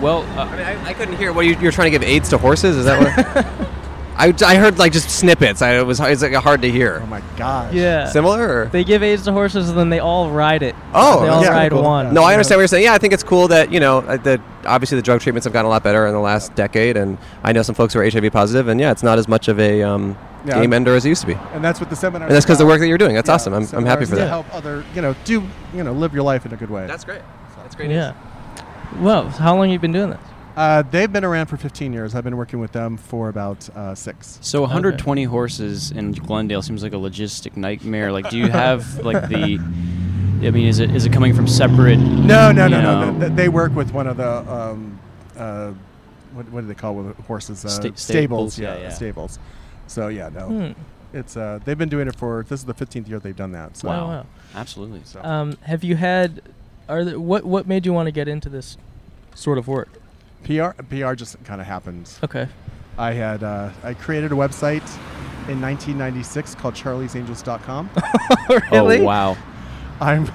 Well, I, uh, mean, I, I couldn't hear. What you, you're trying to give AIDS to horses? Is that what? I, I heard like just snippets. I, it was it's like hard to Oh hear. my gosh. Yeah. Similar? Or? They give AIDS to horses and then they all ride it. Oh, they all yeah, ride cool. one. No, I understand what you're saying. Yeah, I think it's cool that you know uh, that obviously the drug treatments have gotten a lot better in the last decade, and I know some folks who are HIV positive, and yeah, it's not as much of a um, Yeah. game ender as it used to be. and that's what the seminar. And that's because the work that you're doing. That's awesome. I'm, I'm happy for to that. Help other, you know, do you know, live your life in a good way. That's great. That's great. Yeah. Well, how long you been doing this? Uh, they've been around for 15 years. I've been working with them for about uh, six. So 120 horses in Glendale seems like a logistic nightmare. Like, do you have like the? I mean, is it is it coming from separate? No, no, you no, no. know, th- th- They work with one of the, um, uh, what, what do they call with horses? Uh, Sta- stables. stables, yeah, yeah. stables. So yeah, no, Hmm. it's uh, they've been doing it for this is the 15th year they've done that. So. Wow. Absolutely. So. Um, have you had? Are there, what what made you want to get into this sort of work? PR PR just kind of happened. Okay. I had uh, I created a website in 1996 called Charlie'sAngels.com. really? Oh wow. I'm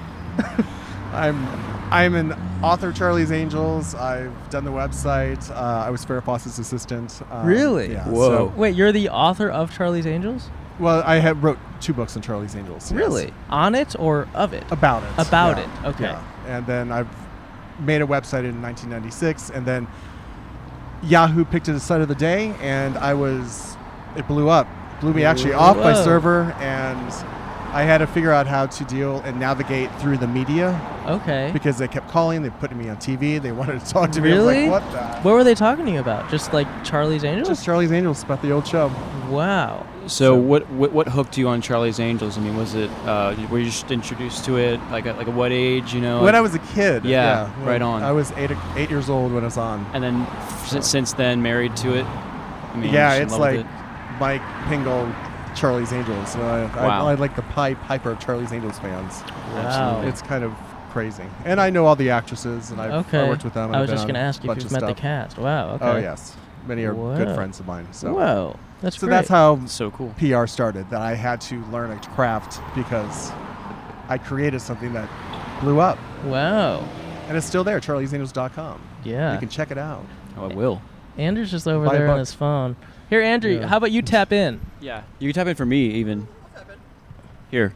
I'm I'm an author of Charlie's Angels. I've done the website. Uh, I was Farrah Fawcett's assistant. Um, Really? Yeah, Whoa. Wait, you're the author of Charlie's Angels? so- well, I had wrote two books on Charlie's Angels. yes. On it or of it? About it. About yeah, it, okay. Yeah. And then I've made a website in 1996, and then Yahoo picked it as site of the day, and I was it blew up, blew me actually off my Whoa. server, and I had to figure out how to deal and navigate through the media Okay. because they kept calling, they put me on TV, they wanted to talk to me. Really? I was like, what the? What were they talking to you about? Just like Charlie's Angels? Just Charlie's Angels about the old show. wow. So what, what what hooked you on Charlie's Angels? I mean, was it uh, were you just introduced to it like at like at what age? You Oh, know. When I was a kid. Yeah, when right on. I was eight, eight years old when I was on. and then f- since, since then married to it. I mean, yeah, just in it's love with like it. Mike Pingle, Charlie's Angels. So uh, I, Wow. I, I like the Pied Piper of Charlie's Angels fans. Wow. It's kind of crazy. And I know all the actresses, and I've okay. I worked with them. and I was I've been just on going to a ask you if bunch you've of met the stuff. cast. Wow. Okay. Oh yes, many are Wow. good friends of mine. So Whoa. That's so great. that's how so cool. PR started. That I had to learn a craft because I created something that blew up, Wow. and it's still there. Charlie'sAngels.com. Yeah. You can check it out. Oh, I will. Andrew's just over Buy a there on book. his phone. Here, Andrew, Yeah. how about you tap in? Yeah, you can tap in for me even. Here.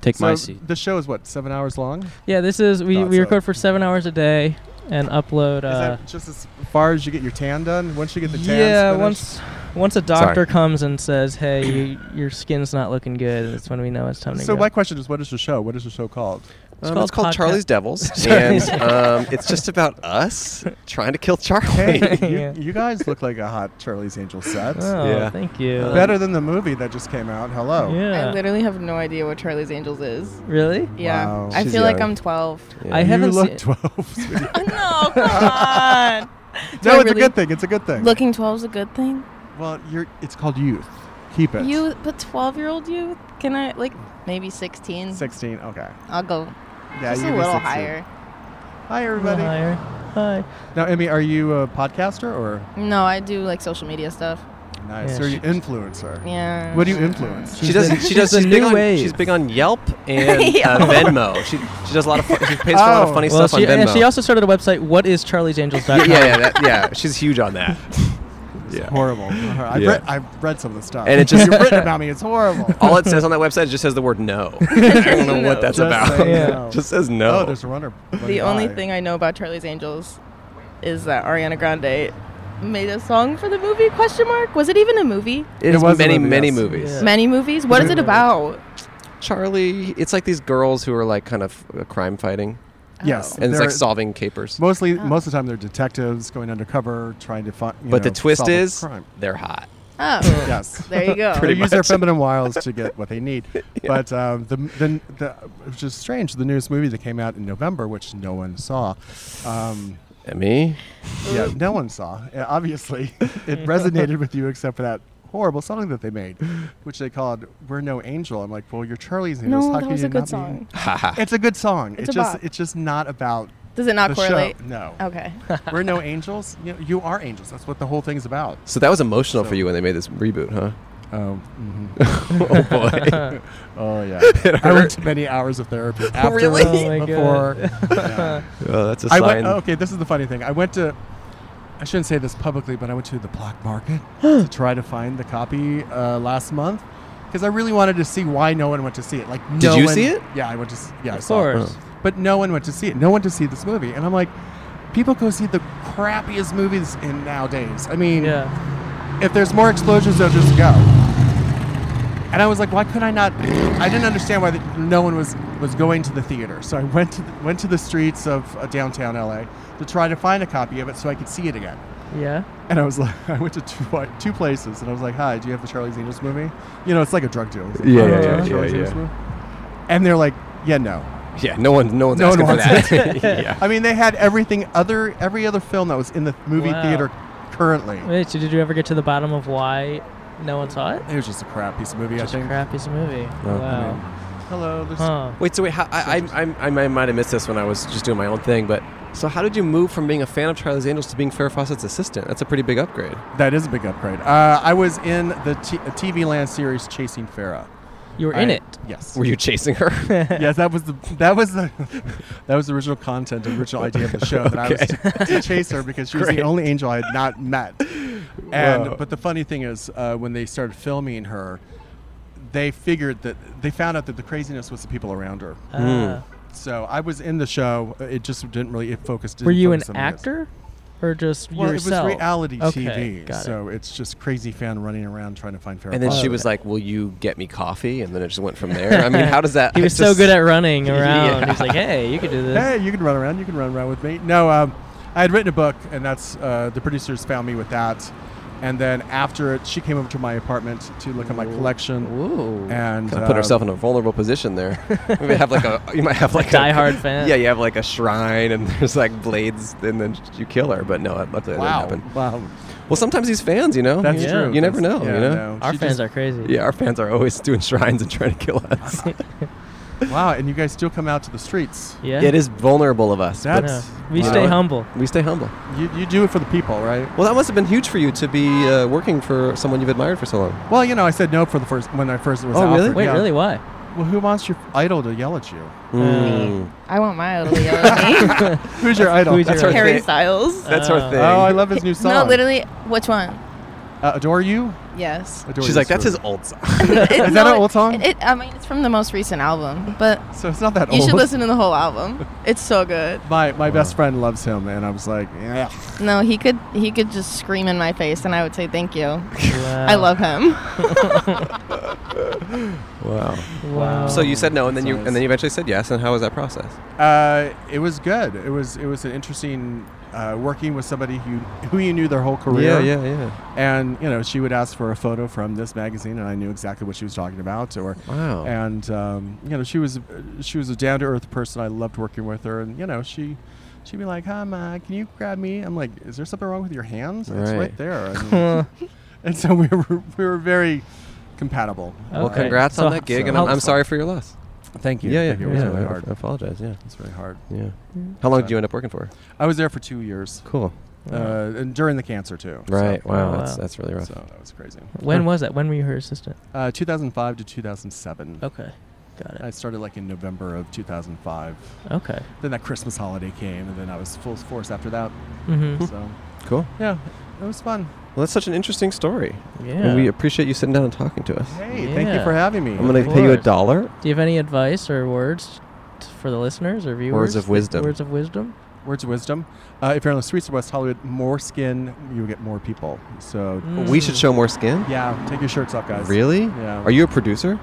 Take my so seat. the show is what seven hours long. Yeah, this is, we, Thought we so. record for seven hours a day and upload. Is Uh, that just as far as you get your tan done? Once you get the tan, yeah, finished? once once a doctor comes and says, "Hey, you, your skin's not looking good," that's when we know it's time to So go. my question is, what is the show? What is the show called? It's Um, called it's called podca- Charlie's Devils, and Charlie's um, it's just about us trying to kill Charlie. Hey, you, Yeah. you guys look like a hot Charlie's Angels set. oh, Yeah. thank you. uh, Better than Oh. the movie that just came out. Hello. Yeah. I literally have no idea what Charlie's Angels is. really? Yeah, Wow. I She's feel like young. I'm 12. Yeah. I You haven't look seen. 12. sweetie. no, Oh, no, come on. it's Do I a really- good thing. It's a good thing. Looking 12 is a good thing. Well, you're. It's called youth. Keep it. You, but 12 year old you? Can I, like, maybe 16? Sixteen. Okay. I'll go Yeah, just you a can be little 16. higher. Hi, everybody. Liar. Hi. Now, Emmy, are you a podcaster or? No, I do, like, social media stuff. Nice. Yeah, so are you she- influencer? Yeah. What do you influence? She does. the- She she's does. She's the big, new on, wave. she's big on Yelp and Yeah. uh, Venmo. She she does a lot of. Fu- she pays for a lot of Oh. funny Well, stuff she, on and Venmo. she also started a website. What is Charlie'sAngels.com? yeah, yeah, yeah, that, yeah. She's huge on that. It's Yeah. horrible. I've, Yeah. read, I've read some of the stuff. And it just- Oh. you've written about me. It's horrible. All it says on that website just says the word no. I don't know what that's Just about. say Yeah. no. Just says no. Oh, there's a runner. The only thing I know about Charlie's Angels is that Ariana Grande made a song for the movie? Question mark. Was it even a movie? it is was a many, movie, many yes. movies. Yeah. Many movies. What is it about? Charlie, it's like these girls who are like kind of uh, crime fighting, Yes, and it's there- like solving capers. Mostly, most of the time they're detectives going undercover trying to find. But the twist is crime. they're hot. Oh, Yes. there you go. They Pretty use their much. feminine wiles to get what they need. But um, the, the, the, which is strange, the newest movie that came out in November, which no one saw. Um, Emmy, yeah, no one saw. Uh, obviously, it resonated with you except for that horrible song that they made, which they called "We're No Angel." I'm like, well, you're Charlie's Angels. No, How that can was you a good not song. Be? It's a good song. It's It's, a just, bop. it's just not about Does it not the correlate? show. No. Okay. We're no angels. You, you are angels. That's what the whole thing's about. so that was emotional So- for you when they made this reboot, huh? Um, Oh, oh boy. oh yeah. It I went hurt. to many hours of therapy. Really? afterwards, Oh, my Before. God. Yeah. Oh, that's a I sign. went. oh, okay, this is the funny thing. I went to. I shouldn't say this publicly, but I went to the black market to try to find the copy uh, last month because I really wanted to see why no one went to see it. Like, Did no you one- see it? Yeah, I went to. s- Yeah, I Of saw it. course. But no one went to see it. No one to see this movie, and I'm like, people go see the crappiest movies in nowadays. I mean, Yeah. if there's more explosions, they'll just go. And I was like, why could I not? I didn't understand why the, no one was, was going to the theater. So I went to the, went to the streets of uh, downtown LA to try to find a copy of it so I could see it again. Yeah. And I was like, I went to two, like, two places, and I was like, "Hi, do you have the Charlie's Angels movie?" You know, it's like a drug deal. It's like, Yeah, "Oh, yeah, do you have yeah, the Charlie's yeah, Angels yeah. movie?" And they're like, "Yeah, no." Yeah, no one, no one's No one asking for wants that. yeah. I mean, they had everything other every other film that was in the movie Wow. theater currently. Wait, so did you ever get to the bottom of why no one saw it? It was just a crap piece of movie. Just I a think. crap piece of movie. Oh, wow. Hello. There's Huh. Wait, so wait, how, I, I, I, I might- might have missed this when I was just doing my own thing, but so how did you move from being a fan of Charlie's Angels to being Farrah Fawcett's assistant? That's a pretty big upgrade. That is a big upgrade. Uh, I was in the t- TV Land series Chasing Farah. You were in I- it. Yes. Were you chasing her? yes, that was the that was the that was the original content, the original idea of the show that I was to, to chase her because she was the Great. only angel I had not met. And Wow. but the funny thing is, uh, when they started filming her, they figured that they found out that the craziness was the people around her. Hmm. Uh, So I was in the show. It just didn't really it focused. Were didn't you an focus on me as- actor, or just Well, yourself? it was reality Okay, TV, got it. so it's just crazy fan running around trying to find Farrah. And then she Fawcett. was like, "Will you get me coffee?" And then it just went from there. I mean, how does that? He I was so just- good at running Yeah. around. He was like, "Hey, you could do this." hey, you can run around. You can run around with me. No, um, I had written a book, and that's uh, the producers found me with that. And then after it, she came over to my apartment to look at my collection. Ooh. And Kinda put uh, herself in a vulnerable position there. you might have like a, you might have like a diehard fan. Yeah, you have like a shrine, and there's like blades, and then you kill her. But no, luckily that Wow, didn't happen. wow, Well, sometimes these fans, you know, that's you, Yeah. true. You never That's- know, yeah, you know. no. Our She fans just- are crazy. Yeah, our fans are always doing shrines and trying to kill us. wow, and you guys still come out to the streets. yeah. It is vulnerable of us. but Yeah. That's We Wow. stay humble. We stay humble. you, you do it for the people, right? Well, that must have been huge for you to be uh, working for someone you've admired for so long. Well, you know, I said no for the first when I first was Oh, really? offered, Wait, yeah. really? Why? Well, who wants your idol to yell at you? Mm. I want my idol to yell at me. Who's your idol? who's That's your her idol? Harry thing. Styles. That's her Oh. thing. Oh, I love his new song. No, literally, which one? Uh, Adore You? Yes. Adore She's You like, that's Sweet." his old song. Is that an old song? It, I mean, it's from the most recent album, but So it's not that you old. should listen to the whole album. It's so good. My, my best friend loves him, and I was like, yeah. No, he could he could just scream in my face, and I would say thank you. Oh. I Wow. love him. wow. Wow. So you said no, and then you Nice. and then you eventually said yes. And how was that process? Uh, it was good. It was it was an interesting uh, working with somebody who who you knew their whole career. yeah. And you know, she would ask for a photo from this magazine, and I knew exactly what she was talking about. Or Wow. and um, you know, she was she was a down to earth person. I loved working with her, and you know, she. She'd be like, "Hi, Ma, can you grab me?" I'm like, "Is there something wrong with your hands? It's Right. right there." I mean, and so we were we were very compatible. Well, Okay. congrats So- on that gig, and I'm, I'm sorry for your loss. Thank you. Thank you. It was really hard. I apologize. Yeah, It's really hard. yeah. How long did you end up working for? I was there for two years, Cool. uh, and during the cancer too. so- Right. wow. Oh, That's wow. that's really rough. So that was crazy. uh, When was that? When were you her assistant? Uh, 2005 to 2007. Okay. Got I it. started like in November of 2005. Okay. Then that Christmas holiday came, and then I was full force after that. Mm-hmm. So Cool. yeah, it was fun. Well, that's such an interesting story. Yeah. And Hmm. we appreciate you sitting down and talking to us. Hey, thank you Yeah. for having me. I'm gonna Of pay you a course. dollar. Do you have any advice or words t- for the listeners or viewers? of wisdom. Words of wisdom. Words of wisdom: uh, If you're on the streets of West Hollywood, more skin, you will get more people. So We should show more skin. Mm. yeah, take your shirts off, guys. Hmm. Really? Yeah. Are you a producer?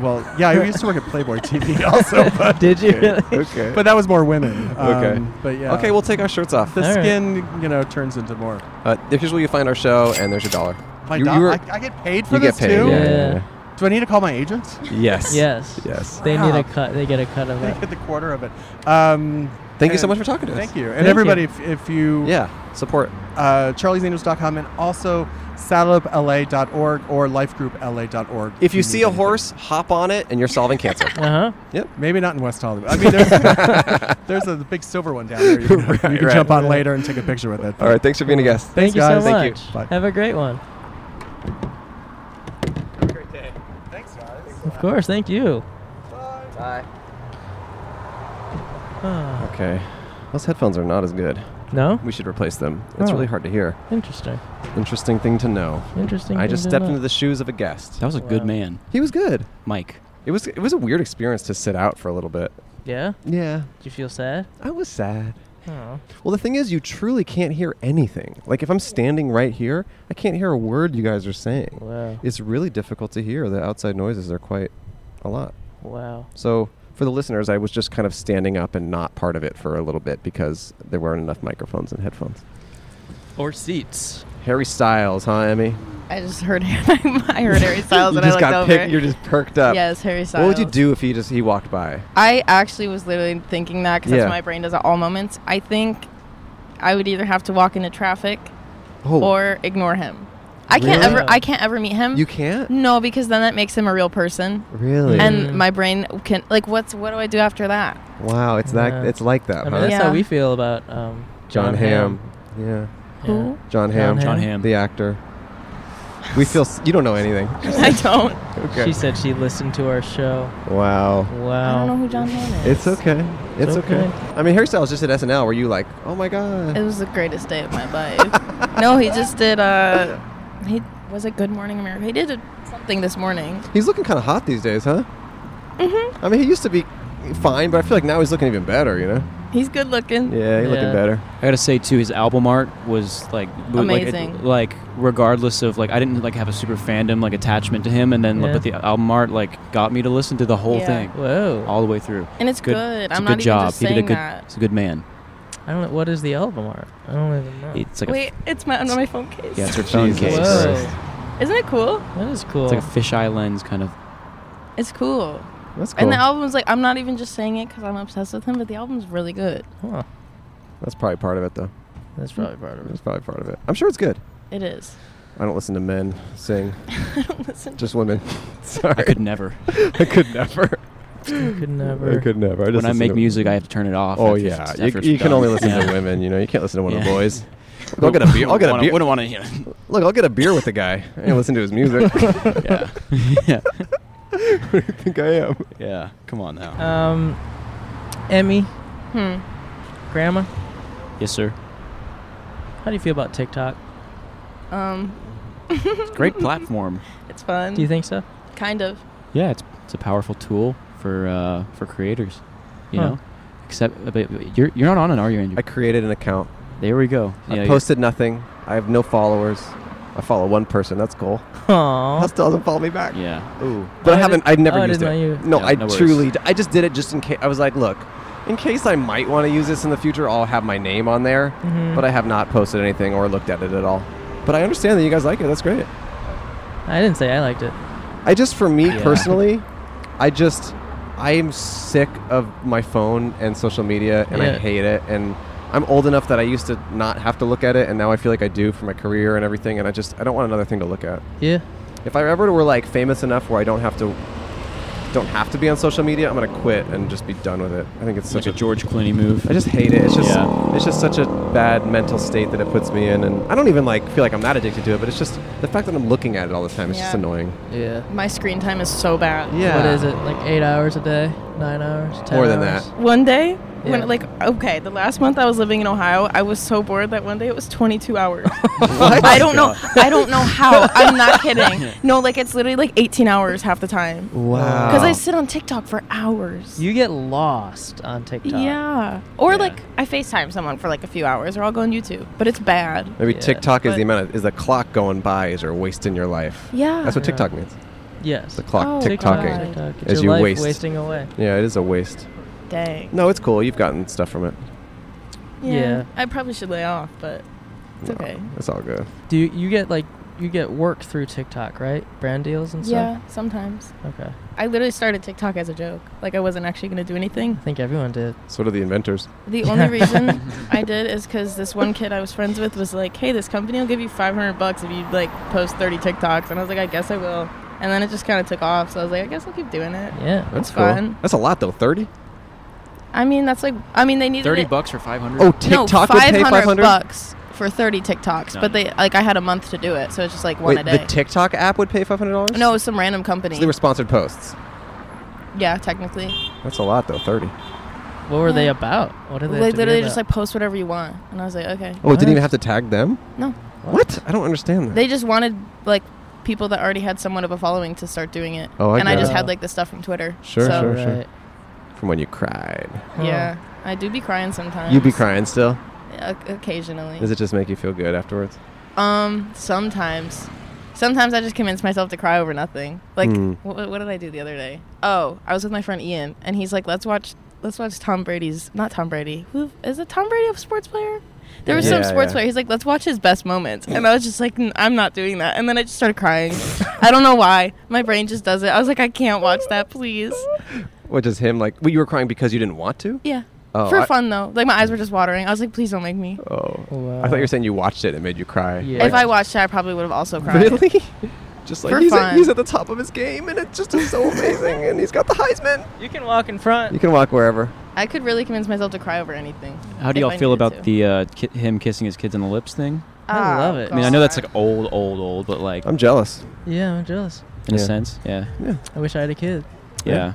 Well, yeah, I used to work at Playboy TV also, but Did you really? Okay. but that was more women. Okay. Um, But yeah. Okay, we'll take our shirts off. the All right. skin, you know, turns into more. Uh, here's where you find our show, and there's your dollar. My you, dog- you were- I, I get paid for you get this paid. too. Yeah. Yeah. yeah, Do I need to call my agent? yeah. Yes. Yes. Yes. They need Wow. a cut. They get a cut of They that. get the quarter of it. Um, Thank you so and- much for talking to us. Thank you, and Thank everybody. you. If, if you, Yeah. Support. uh, charliesangels.com and also saddleupla.org or lifegroupla.org. If you need see a anything. horse, hop on it, and you're solving cancer. Uh huh. maybe not in West Hollywood. I mean, there's, there's a big silver one down there. You can, you can right. jump on later and take a picture with it. All right. Thanks for being a guest. Thank you guys. so Thank you. much. Bye. Have a great one. Thanks, guys. Of course. Thank you. Ah, Okay. Those headphones are not as good. no. We should replace them. It's Oh. really hard to hear. Interesting. Interesting thing to know. Interesting. I thing just to stepped know. into the shoes of a guest. That was a good Wow. man, He was good. Mike. It was it was a weird experience to sit out for a little bit. Yeah. Yeah. Do you feel sad? I was sad. Oh. Well, the thing is, you truly can't hear anything. Like if I'm standing right here, I can't hear a word you guys are saying. Wow. It's really difficult to hear. The outside noises are quite a lot. Wow. So for the listeners, I was just kind of standing up and not part of it for a little bit because there weren't enough microphones and headphones. Or seats. Harry Styles, huh, Emmy? I just heard I heard Harry Styles you and I just looked got over. picked. You're just perked up. Yes, Harry Styles. What would you do if he just he walked by? I actually was literally thinking that because that's Yeah. what my brain does at all moments. I think I would either have to walk into traffic Oh, or ignore him. I can't Really? ever. I can't ever meet him. you can't. no, because then that makes him a real person, Really? Mm. and my brain can like. What's what do I do after that? wow, it's that. Yeah. It's like that, I mean, huh? that's how Yeah. we feel about um, Uh-huh. John Hamm. Yeah. Yeah. Who? John John Hamm. John Yeah. Ham. The actor. We feel s- you don't know anything. I don't. Okay. She said she listened to our show. wow. I don't know Wow. who John Lennon is. It's okay. It's, okay. okay. I mean, Harry Styles just at SNL. Were you like, oh my god? It was the greatest day of my life. no, he just did. Uh, he was it Good Morning America. He did a, something this morning. He's looking kind of hot these days, huh? Mm-hmm. I mean, he used to be fine, but I feel like now he's looking even better. You know? He's good looking. Yeah, he's looking Yeah. better. I gotta say too, his album art was like w- like, it- Amazing. Like, regardless of like, I didn't like have a super fandom like attachment to him, and then Yeah. but the album art like got me to listen to the whole Yeah. thing Whoa. all the way through. And it's good. It's I'm a not good job. even just he saying did a good. that. He's a good man. I don't know. What is the album art? I don't even know. It's like Wait, it's my under my phone case. a yeah, it's her phone Jesus case. Whoa. Christ. Isn't it cool? That is cool. It's like a fisheye lens kind of. It's cool. That's cool. And the album's like, I'm not even just saying it because I'm obsessed with him, but the album's really good. Huh. That's probably part of it, though. That's probably part of it. That's probably part of it. I'm sure it's good. It is. I don't listen to men sing, I don't listen. just women. Sorry, I could never. I could never. Could never. I could never. I just when I listen make to- music, I have to turn it off. Oh after yeah, it's- you, after it's you can done. only listen to Yeah. women. You know, you can't listen to one of the Yeah. boys. Look, I'll get a beer. I'll get a Wouldn't beer. wanna- Wouldn't want to. Yeah. Look, I'll get a beer with the guy and listen to his music. yeah. yeah. Who do you think I am? Yeah. Come on now. Um, Emmy, Hmm. Grandma, yes, sir. how do you feel about TikTok? Um, Great platform. it's fun. Do you think so? Kind of. Yeah, it's it's a powerful tool for uh, for creators. You Huh. know, except uh, but- but you're you're not on it, are you, Andrew? I created an account. there we go. I posted nothing. I have no followers. I follow one person. That's cool. Aw. That still doesn't follow me back. Yeah. Ooh. Oh, But I I haven't. didn't- I've never oh, I used it. didn't know you- No, Yeah, I no worries. truly. d- I just did it just in case. I was like, look, in case I might want to use this in the future, I'll have my name on there. Mhm. But I have not posted anything or looked at it at all. But I understand that you guys like it. That's great. I didn't say I liked it. I just, for me Yeah. personally, I just, I am sick of my phone and social media, and I Yeah. hate it. And I'm old enough that I used to not have to look at it, and now I feel like I do for my career and everything. And I just, I don't want another thing to look at. Yeah. If I ever were like famous enough where I don't have to, don't have to be on social media, I'm gonna quit and just be done with it. I think it's Such such like a a George Clooney move. I just hate it. It's just Yeah. it's just such a bad mental state that it puts me in, and I don't even like feel like I'm not addicted to it, but it's just the fact that I'm looking at it all the time. It's just Yeah. annoying. Yeah. My screen time is so bad. Yeah. What is it? Like eight hours a day? Nine hours? Ten More than hours? that. One day, Yeah. when like okay, the last month I was living in Ohio, I was so bored that one day it was 22 hours. I don't know. I don't know how. I'm not kidding. No, like it's literally like 18 hours half the time Wow. because I sit on TikTok for hours. You get lost on TikTok. yeah, or Yeah. like I FaceTime someone for like a few hours, or I'll go on YouTube. But it's bad. Maybe Yeah, TikTok is but- the amount of is the clock going by is you're wasting your life. Yeah. That's what Yeah. TikTok means. Yes. The clock Oh, TikToking. God. TikTok. It's As your you life waste. wasting away. Yeah, it is a waste. Dang. No, it's cool. You've gotten stuff from it. Yeah. I probably should lay off, but it's okay. It's all good. Do you, you get like you get work through TikTok, right? Brand deals and Yeah, sometimes. stuff. Okay. I literally started TikTok as a joke. Like I wasn't actually going to do anything. I think everyone did. So do the inventors. The only reason I did is because this one kid I was friends with was like, "Hey, this company will give you 500 bucks if you like post 30 TikToks," and I was like, "I guess I will." And then it just kind of took off, so I was like, "I guess I'll keep doing it." Yeah. That's It's cool. fun. That's a lot though. Thirty. I mean, that's like, I mean, they needed Thirty it- bucks for five hundred. Oh, TikTok no, would pay five 500 hundred. bucks for 30 TikToks, No. but they like I had a month to do it, so it's just like one Wait, a day. the TikTok app would pay five hundred dollars. no, it was some random company. so they were sponsored posts. yeah, technically. That's a lot though. Thirty. Oh, What were they about? What did They they? have to be literally just about? like post whatever you want, and I was like, okay. Oh, it didn't even What? have to tag them. No. What? I don't understand that. They just wanted like people that already had somewhat of a following to start doing it. Oh, I and I get just it. had like the stuff from Twitter. Sure, so sure. Right. from when you cried. Yeah, I do be crying sometimes. You be crying still? O- occasionally. Does it just make you feel good afterwards? Um, sometimes. Sometimes I just convince myself to cry over nothing. Like, Hmm. wh- wh- what did I do the other day? Oh, I was with my friend Ian, and he's like, "Let's watch, let's watch Tom Brady's not Tom Brady. Who is it? Tom Brady, a sports player? There was some Yeah, sports yeah. player. He's like, "Let's watch his best moments," and I was just like, "N- "I'm not doing that." And then I just started crying. I don't know why. My brain just does it. I was like, "I can't watch that, please." What does him like? Well, you were crying because you didn't want to. Yeah, Oh, for I- fun though. Like my eyes were just watering. I was like, "Please don't make me." Oh, Wow. I thought you were saying you watched it and made you cry. Yeah. If I watched it, I probably would have also cried. Really? Just like For he's at, fun. he's at the top of his game, and it's just is so amazing, and he's got the Heisman. You can walk in front. You can walk wherever. I could really convince myself to cry over anything. How do if y'all I feel needed about to. the uh, ki- him kissing his kids on the lips thing? I Oh, love it. I mean, I know that's God. like old, old, old, but like I'm jealous. Yeah, I'm jealous. in a Yeah. sense, yeah, I wish I had a kid. yeah,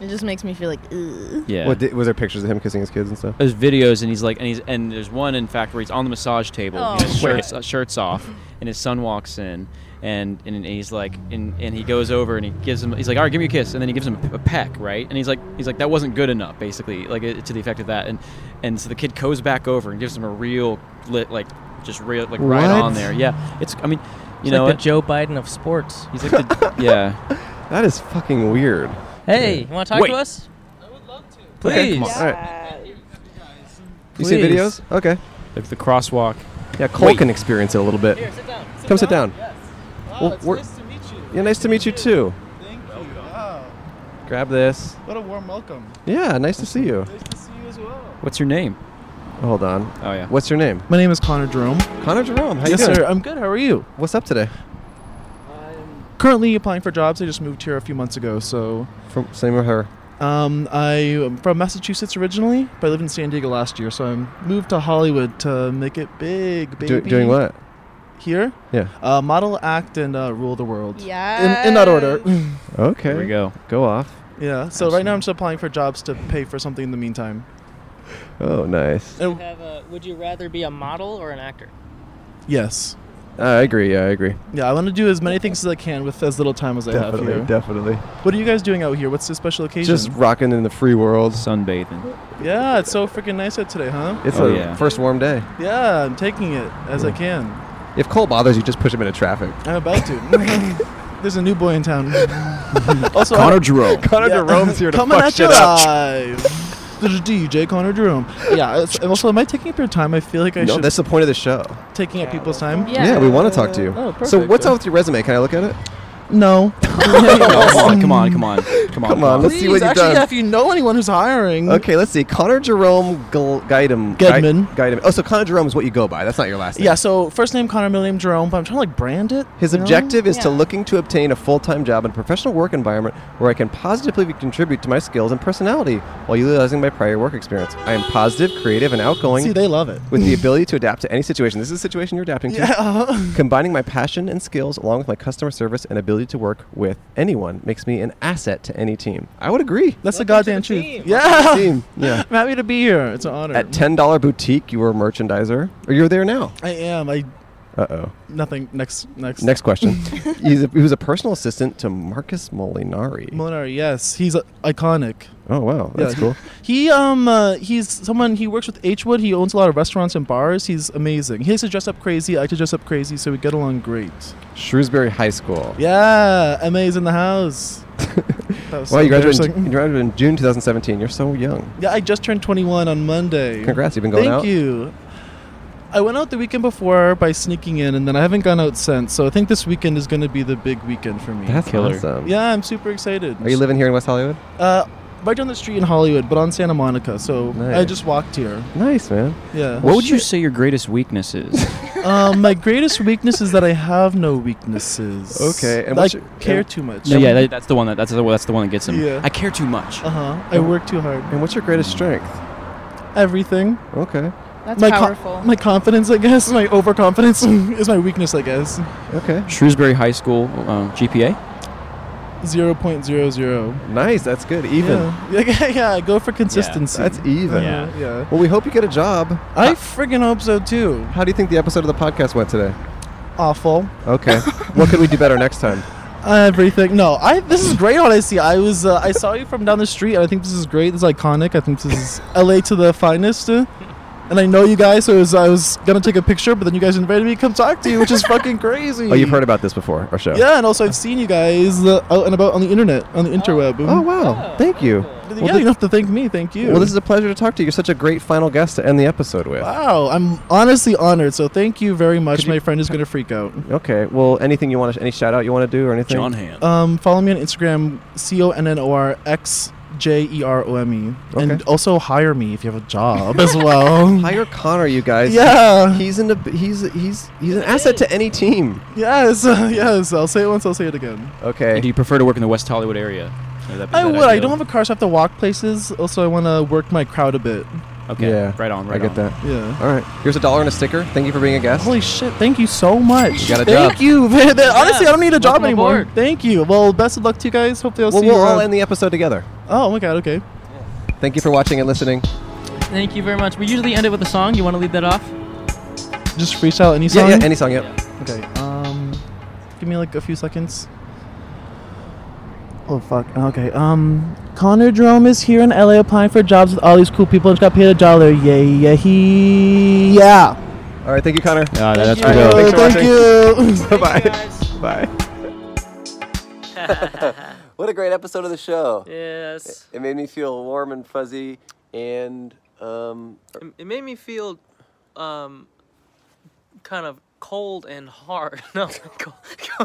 It just makes me feel like, ugh. yeah. What did, was there pictures of him kissing his kids and stuff? there's videos and he's like and he's and there's one in fact where he's on the massage table Oh. and his Wait. shirts, uh, shirts off and his son walks in and, and and he's like and, and he goes over and he gives him he's like all right give me a kiss and then he gives him a, peck right and he's like he's like that wasn't good enough basically like uh, to the effect of that and and so the kid goes back over and gives him a real lit like just real like right What? on there yeah it's I mean you He's know like what? the Joe Biden of sports. he's like the, yeah That is fucking weird. Hey, you want to talk Wait. to us? I would love to. Okay, Please. come on. All right. You see Please. videos? Okay. like the crosswalk Yeah, Cole Wait. can experience it a little bit. Here, sit down. Come sit down. Well, we're- to meet you. Yeah, nice to meet you too. Thank you. Wow. Grab this. What a warm welcome. Yeah, nice to see you. Nice to see you as well. what's your name Hold on. oh yeah What's your name? My name is Connor Jerome. Connor Jerome. How yes, you doing? sir. I'm good. How are you? What's up today? I'm currently applying for jobs. I just moved here a few months ago. So From same with her. um, I am from Massachusetts originally, but I lived in San Diego last year. So I moved to Hollywood to make it big, baby. Do, doing what? Here. Yeah. Uh, model, act, and uh, rule the world. yeah. In, in that order. Okay. here we go Go off. yeah. So right now I'm just applying for jobs to pay for something in the meantime. Oh, nice. And- Have a, would you rather be a model or an actor? yes. I agree. Yeah, I agree. Yeah, I want to do as many things as I can with as little time as I have here. definitely. What are you guys doing out here? What's the special occasion? Just rocking in the free world. sunbathing yeah, it's so freaking nice out today, huh? It's Oh, a yeah. first warm day. Yeah, I'm taking it as I can. If Cole bothers you, just push him into traffic. I'm about to. There's a new boy in town. also, I- Jerome Connor yeah, Jerome's here to coming fuck at shit you up. live. There's DJ Connor Jerome. Yeah. it's- and also, am I taking up your time? I feel like I No, should that's the point of the show. taking up people's time. Yeah. we want to talk to you. so Oh, perfect. what's up with your resume? Can I look at it? No. come on come on come on come on Come on, let's see what Oh, Please, you've actually, done. yeah, if you know anyone who's hiring, Okay, let's see. Connor Jerome Gl- Guidem. Guidman. Guidem. Oh, so Connor Jerome is what you go by. That's not your last name. Yeah, so first name Connor Milliam Jerome, but I'm trying to like brand it. His you know? objective is to Yeah. looking to obtain a full-time job in a professional work environment where I can positively contribute to my skills and personality while utilizing my prior work experience. I am positive, creative, and outgoing See, they love it. with the ability to adapt to any situation. This is a situation you're adapting to. Yeah. Combining my passion and skills along with my customer service and ability to work with anyone makes me an asset to any team. I would agree. That's the Welcome to goddamn the truth. team. Yeah. Team. Yeah. I'm happy to be here. It's an honor. At ten dollar boutique, you were a merchandiser, or you're there now. I am. I Uh oh. nothing. Next. Next. Next question. He's a, he was a personal assistant to Marcus Molinari. Molinari. Yes, he's uh, iconic. oh wow, that's Yeah. cool. He um uh, he's someone. He works with H Wood. He owns a lot of restaurants and bars. He's amazing. He likes to dress up crazy. I like to dress up crazy, so we get along great. Shrewsbury High School. Yeah, Emma's in the house. That was Wow, so you graduated, in, embarrassing. you graduated in June 2017. You're so young. Yeah, I just turned 21 on Monday. Congrats, you've been going Thank out. you. I went out the weekend before by sneaking in, and then I haven't gone out since. So I think this weekend is going to be the big weekend for me. That's Killer. awesome. yeah, I'm super excited. Are you living here in West Hollywood? Uh, right down the street in Hollywood, but on Santa Monica. So I Nice. just walked here. Nice, man. Yeah. What would you say your greatest weakness is? um, my greatest weakness is that I have no weaknesses. Okay, and I what's your- care and- too much. no, yeah, that, that's the one that that's the, that's the one that gets him. Yeah. I care too much. Uh huh. I work too hard. And what's your greatest strength? Everything. Okay. That's co- powerful. my confidence, I guess. My overconfidence is my weakness, I guess. Okay. Shrewsbury High School uh, GPA. Zero point zero zero. Nice. That's good. Even. Yeah. Yeah, yeah, go for consistency. That's even. Yeah. Uh, yeah. Well, we hope you get a job. I friggin' hope so too. How do you think the episode of the podcast went today? Awful. Okay. what could we do better next time? Everything. No, I. This is great. What I see. I was. Uh, I saw you from down the street, and I think this is great. This is iconic. I think this is L.A. to the finest. uh, And I know you guys, so it was, I was gonna take a picture, but then you guys invited me to come talk to you, which is fucking crazy. Oh, you've heard about this before, our show. Yeah, and also I've seen you guys uh, out and about on the internet, on the interweb. Oh, wow. Thank you. Yeah, Well, you don't have to thank me. Thank you. Well, this is a pleasure to talk to you. You're such a great final guest to end the episode with. wow. I'm honestly honored. So thank you very much. Could you- My friend is gonna freak out. Okay. Well, anything you want to, any shout out you want to do or anything? John Hand. Um, follow me on Instagram, C O N N O R X J E R O M E. And Okay. also hire me if you have a job as well. Hire Connor, you guys. yeah. He's in the, he's he's he's an asset to any team. yes. yes. I'll say it once, I'll say it again. Okay. Do you prefer to work in the West Hollywood area? Would that be- is I that would. I ideal? don't have a car, so I have to walk places. Also, I want to work my crowd a bit. Okay. Yeah. Right on. I Right get on. that. Yeah. All right. Here's a dollar and a sticker. Thank you for being a guest. Holy shit. Thank you so much. You got a thank job. you. Honestly, I don't need a job Welcome anymore. aboard. Thank you. Well, best of luck to you guys. Hopefully, I'll Well, see you we'll all around. end the episode together. Oh, my God. Okay. Thank you for watching and listening. Thank you very much. We usually end it with a song. You want to lead that off? Just freestyle any Yeah, song? yeah. Any song. Yep. Okay. Um, give me like a few seconds. Oh fuck. Okay. Um, Connor Jerome is here in LA applying for jobs with all these cool people and just got paid a dollar. Yeah, yeah, he, yeah. All right. Thank you, Connor. Ah, that's Uh, pretty dope. Thanks for thank you. Bye. Bye. What a great episode of the show. Yes. It made me feel warm and fuzzy and um, It- It made me feel um, kind of cold and hard. No, cold,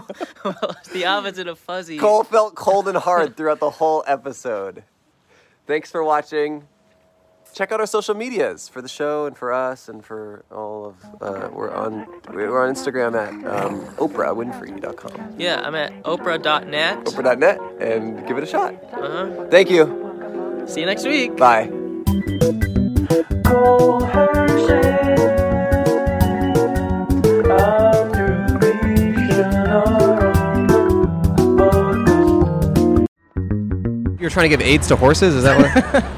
well, it's the opposite of fuzzy. Cole felt cold and hard throughout the whole episode. Thanks for watching. Check out our social medias for the show and for us and for all of. Uh, we're on we're on Instagram at um, OprahWinfrey.com, Yeah, I'm at oprah.net. Oprah.net, and give it a shot. Uh-huh. Thank you. See you next week. Bye. I'm to be around the podcast. You're trying to give AIDS to horses? Is that what?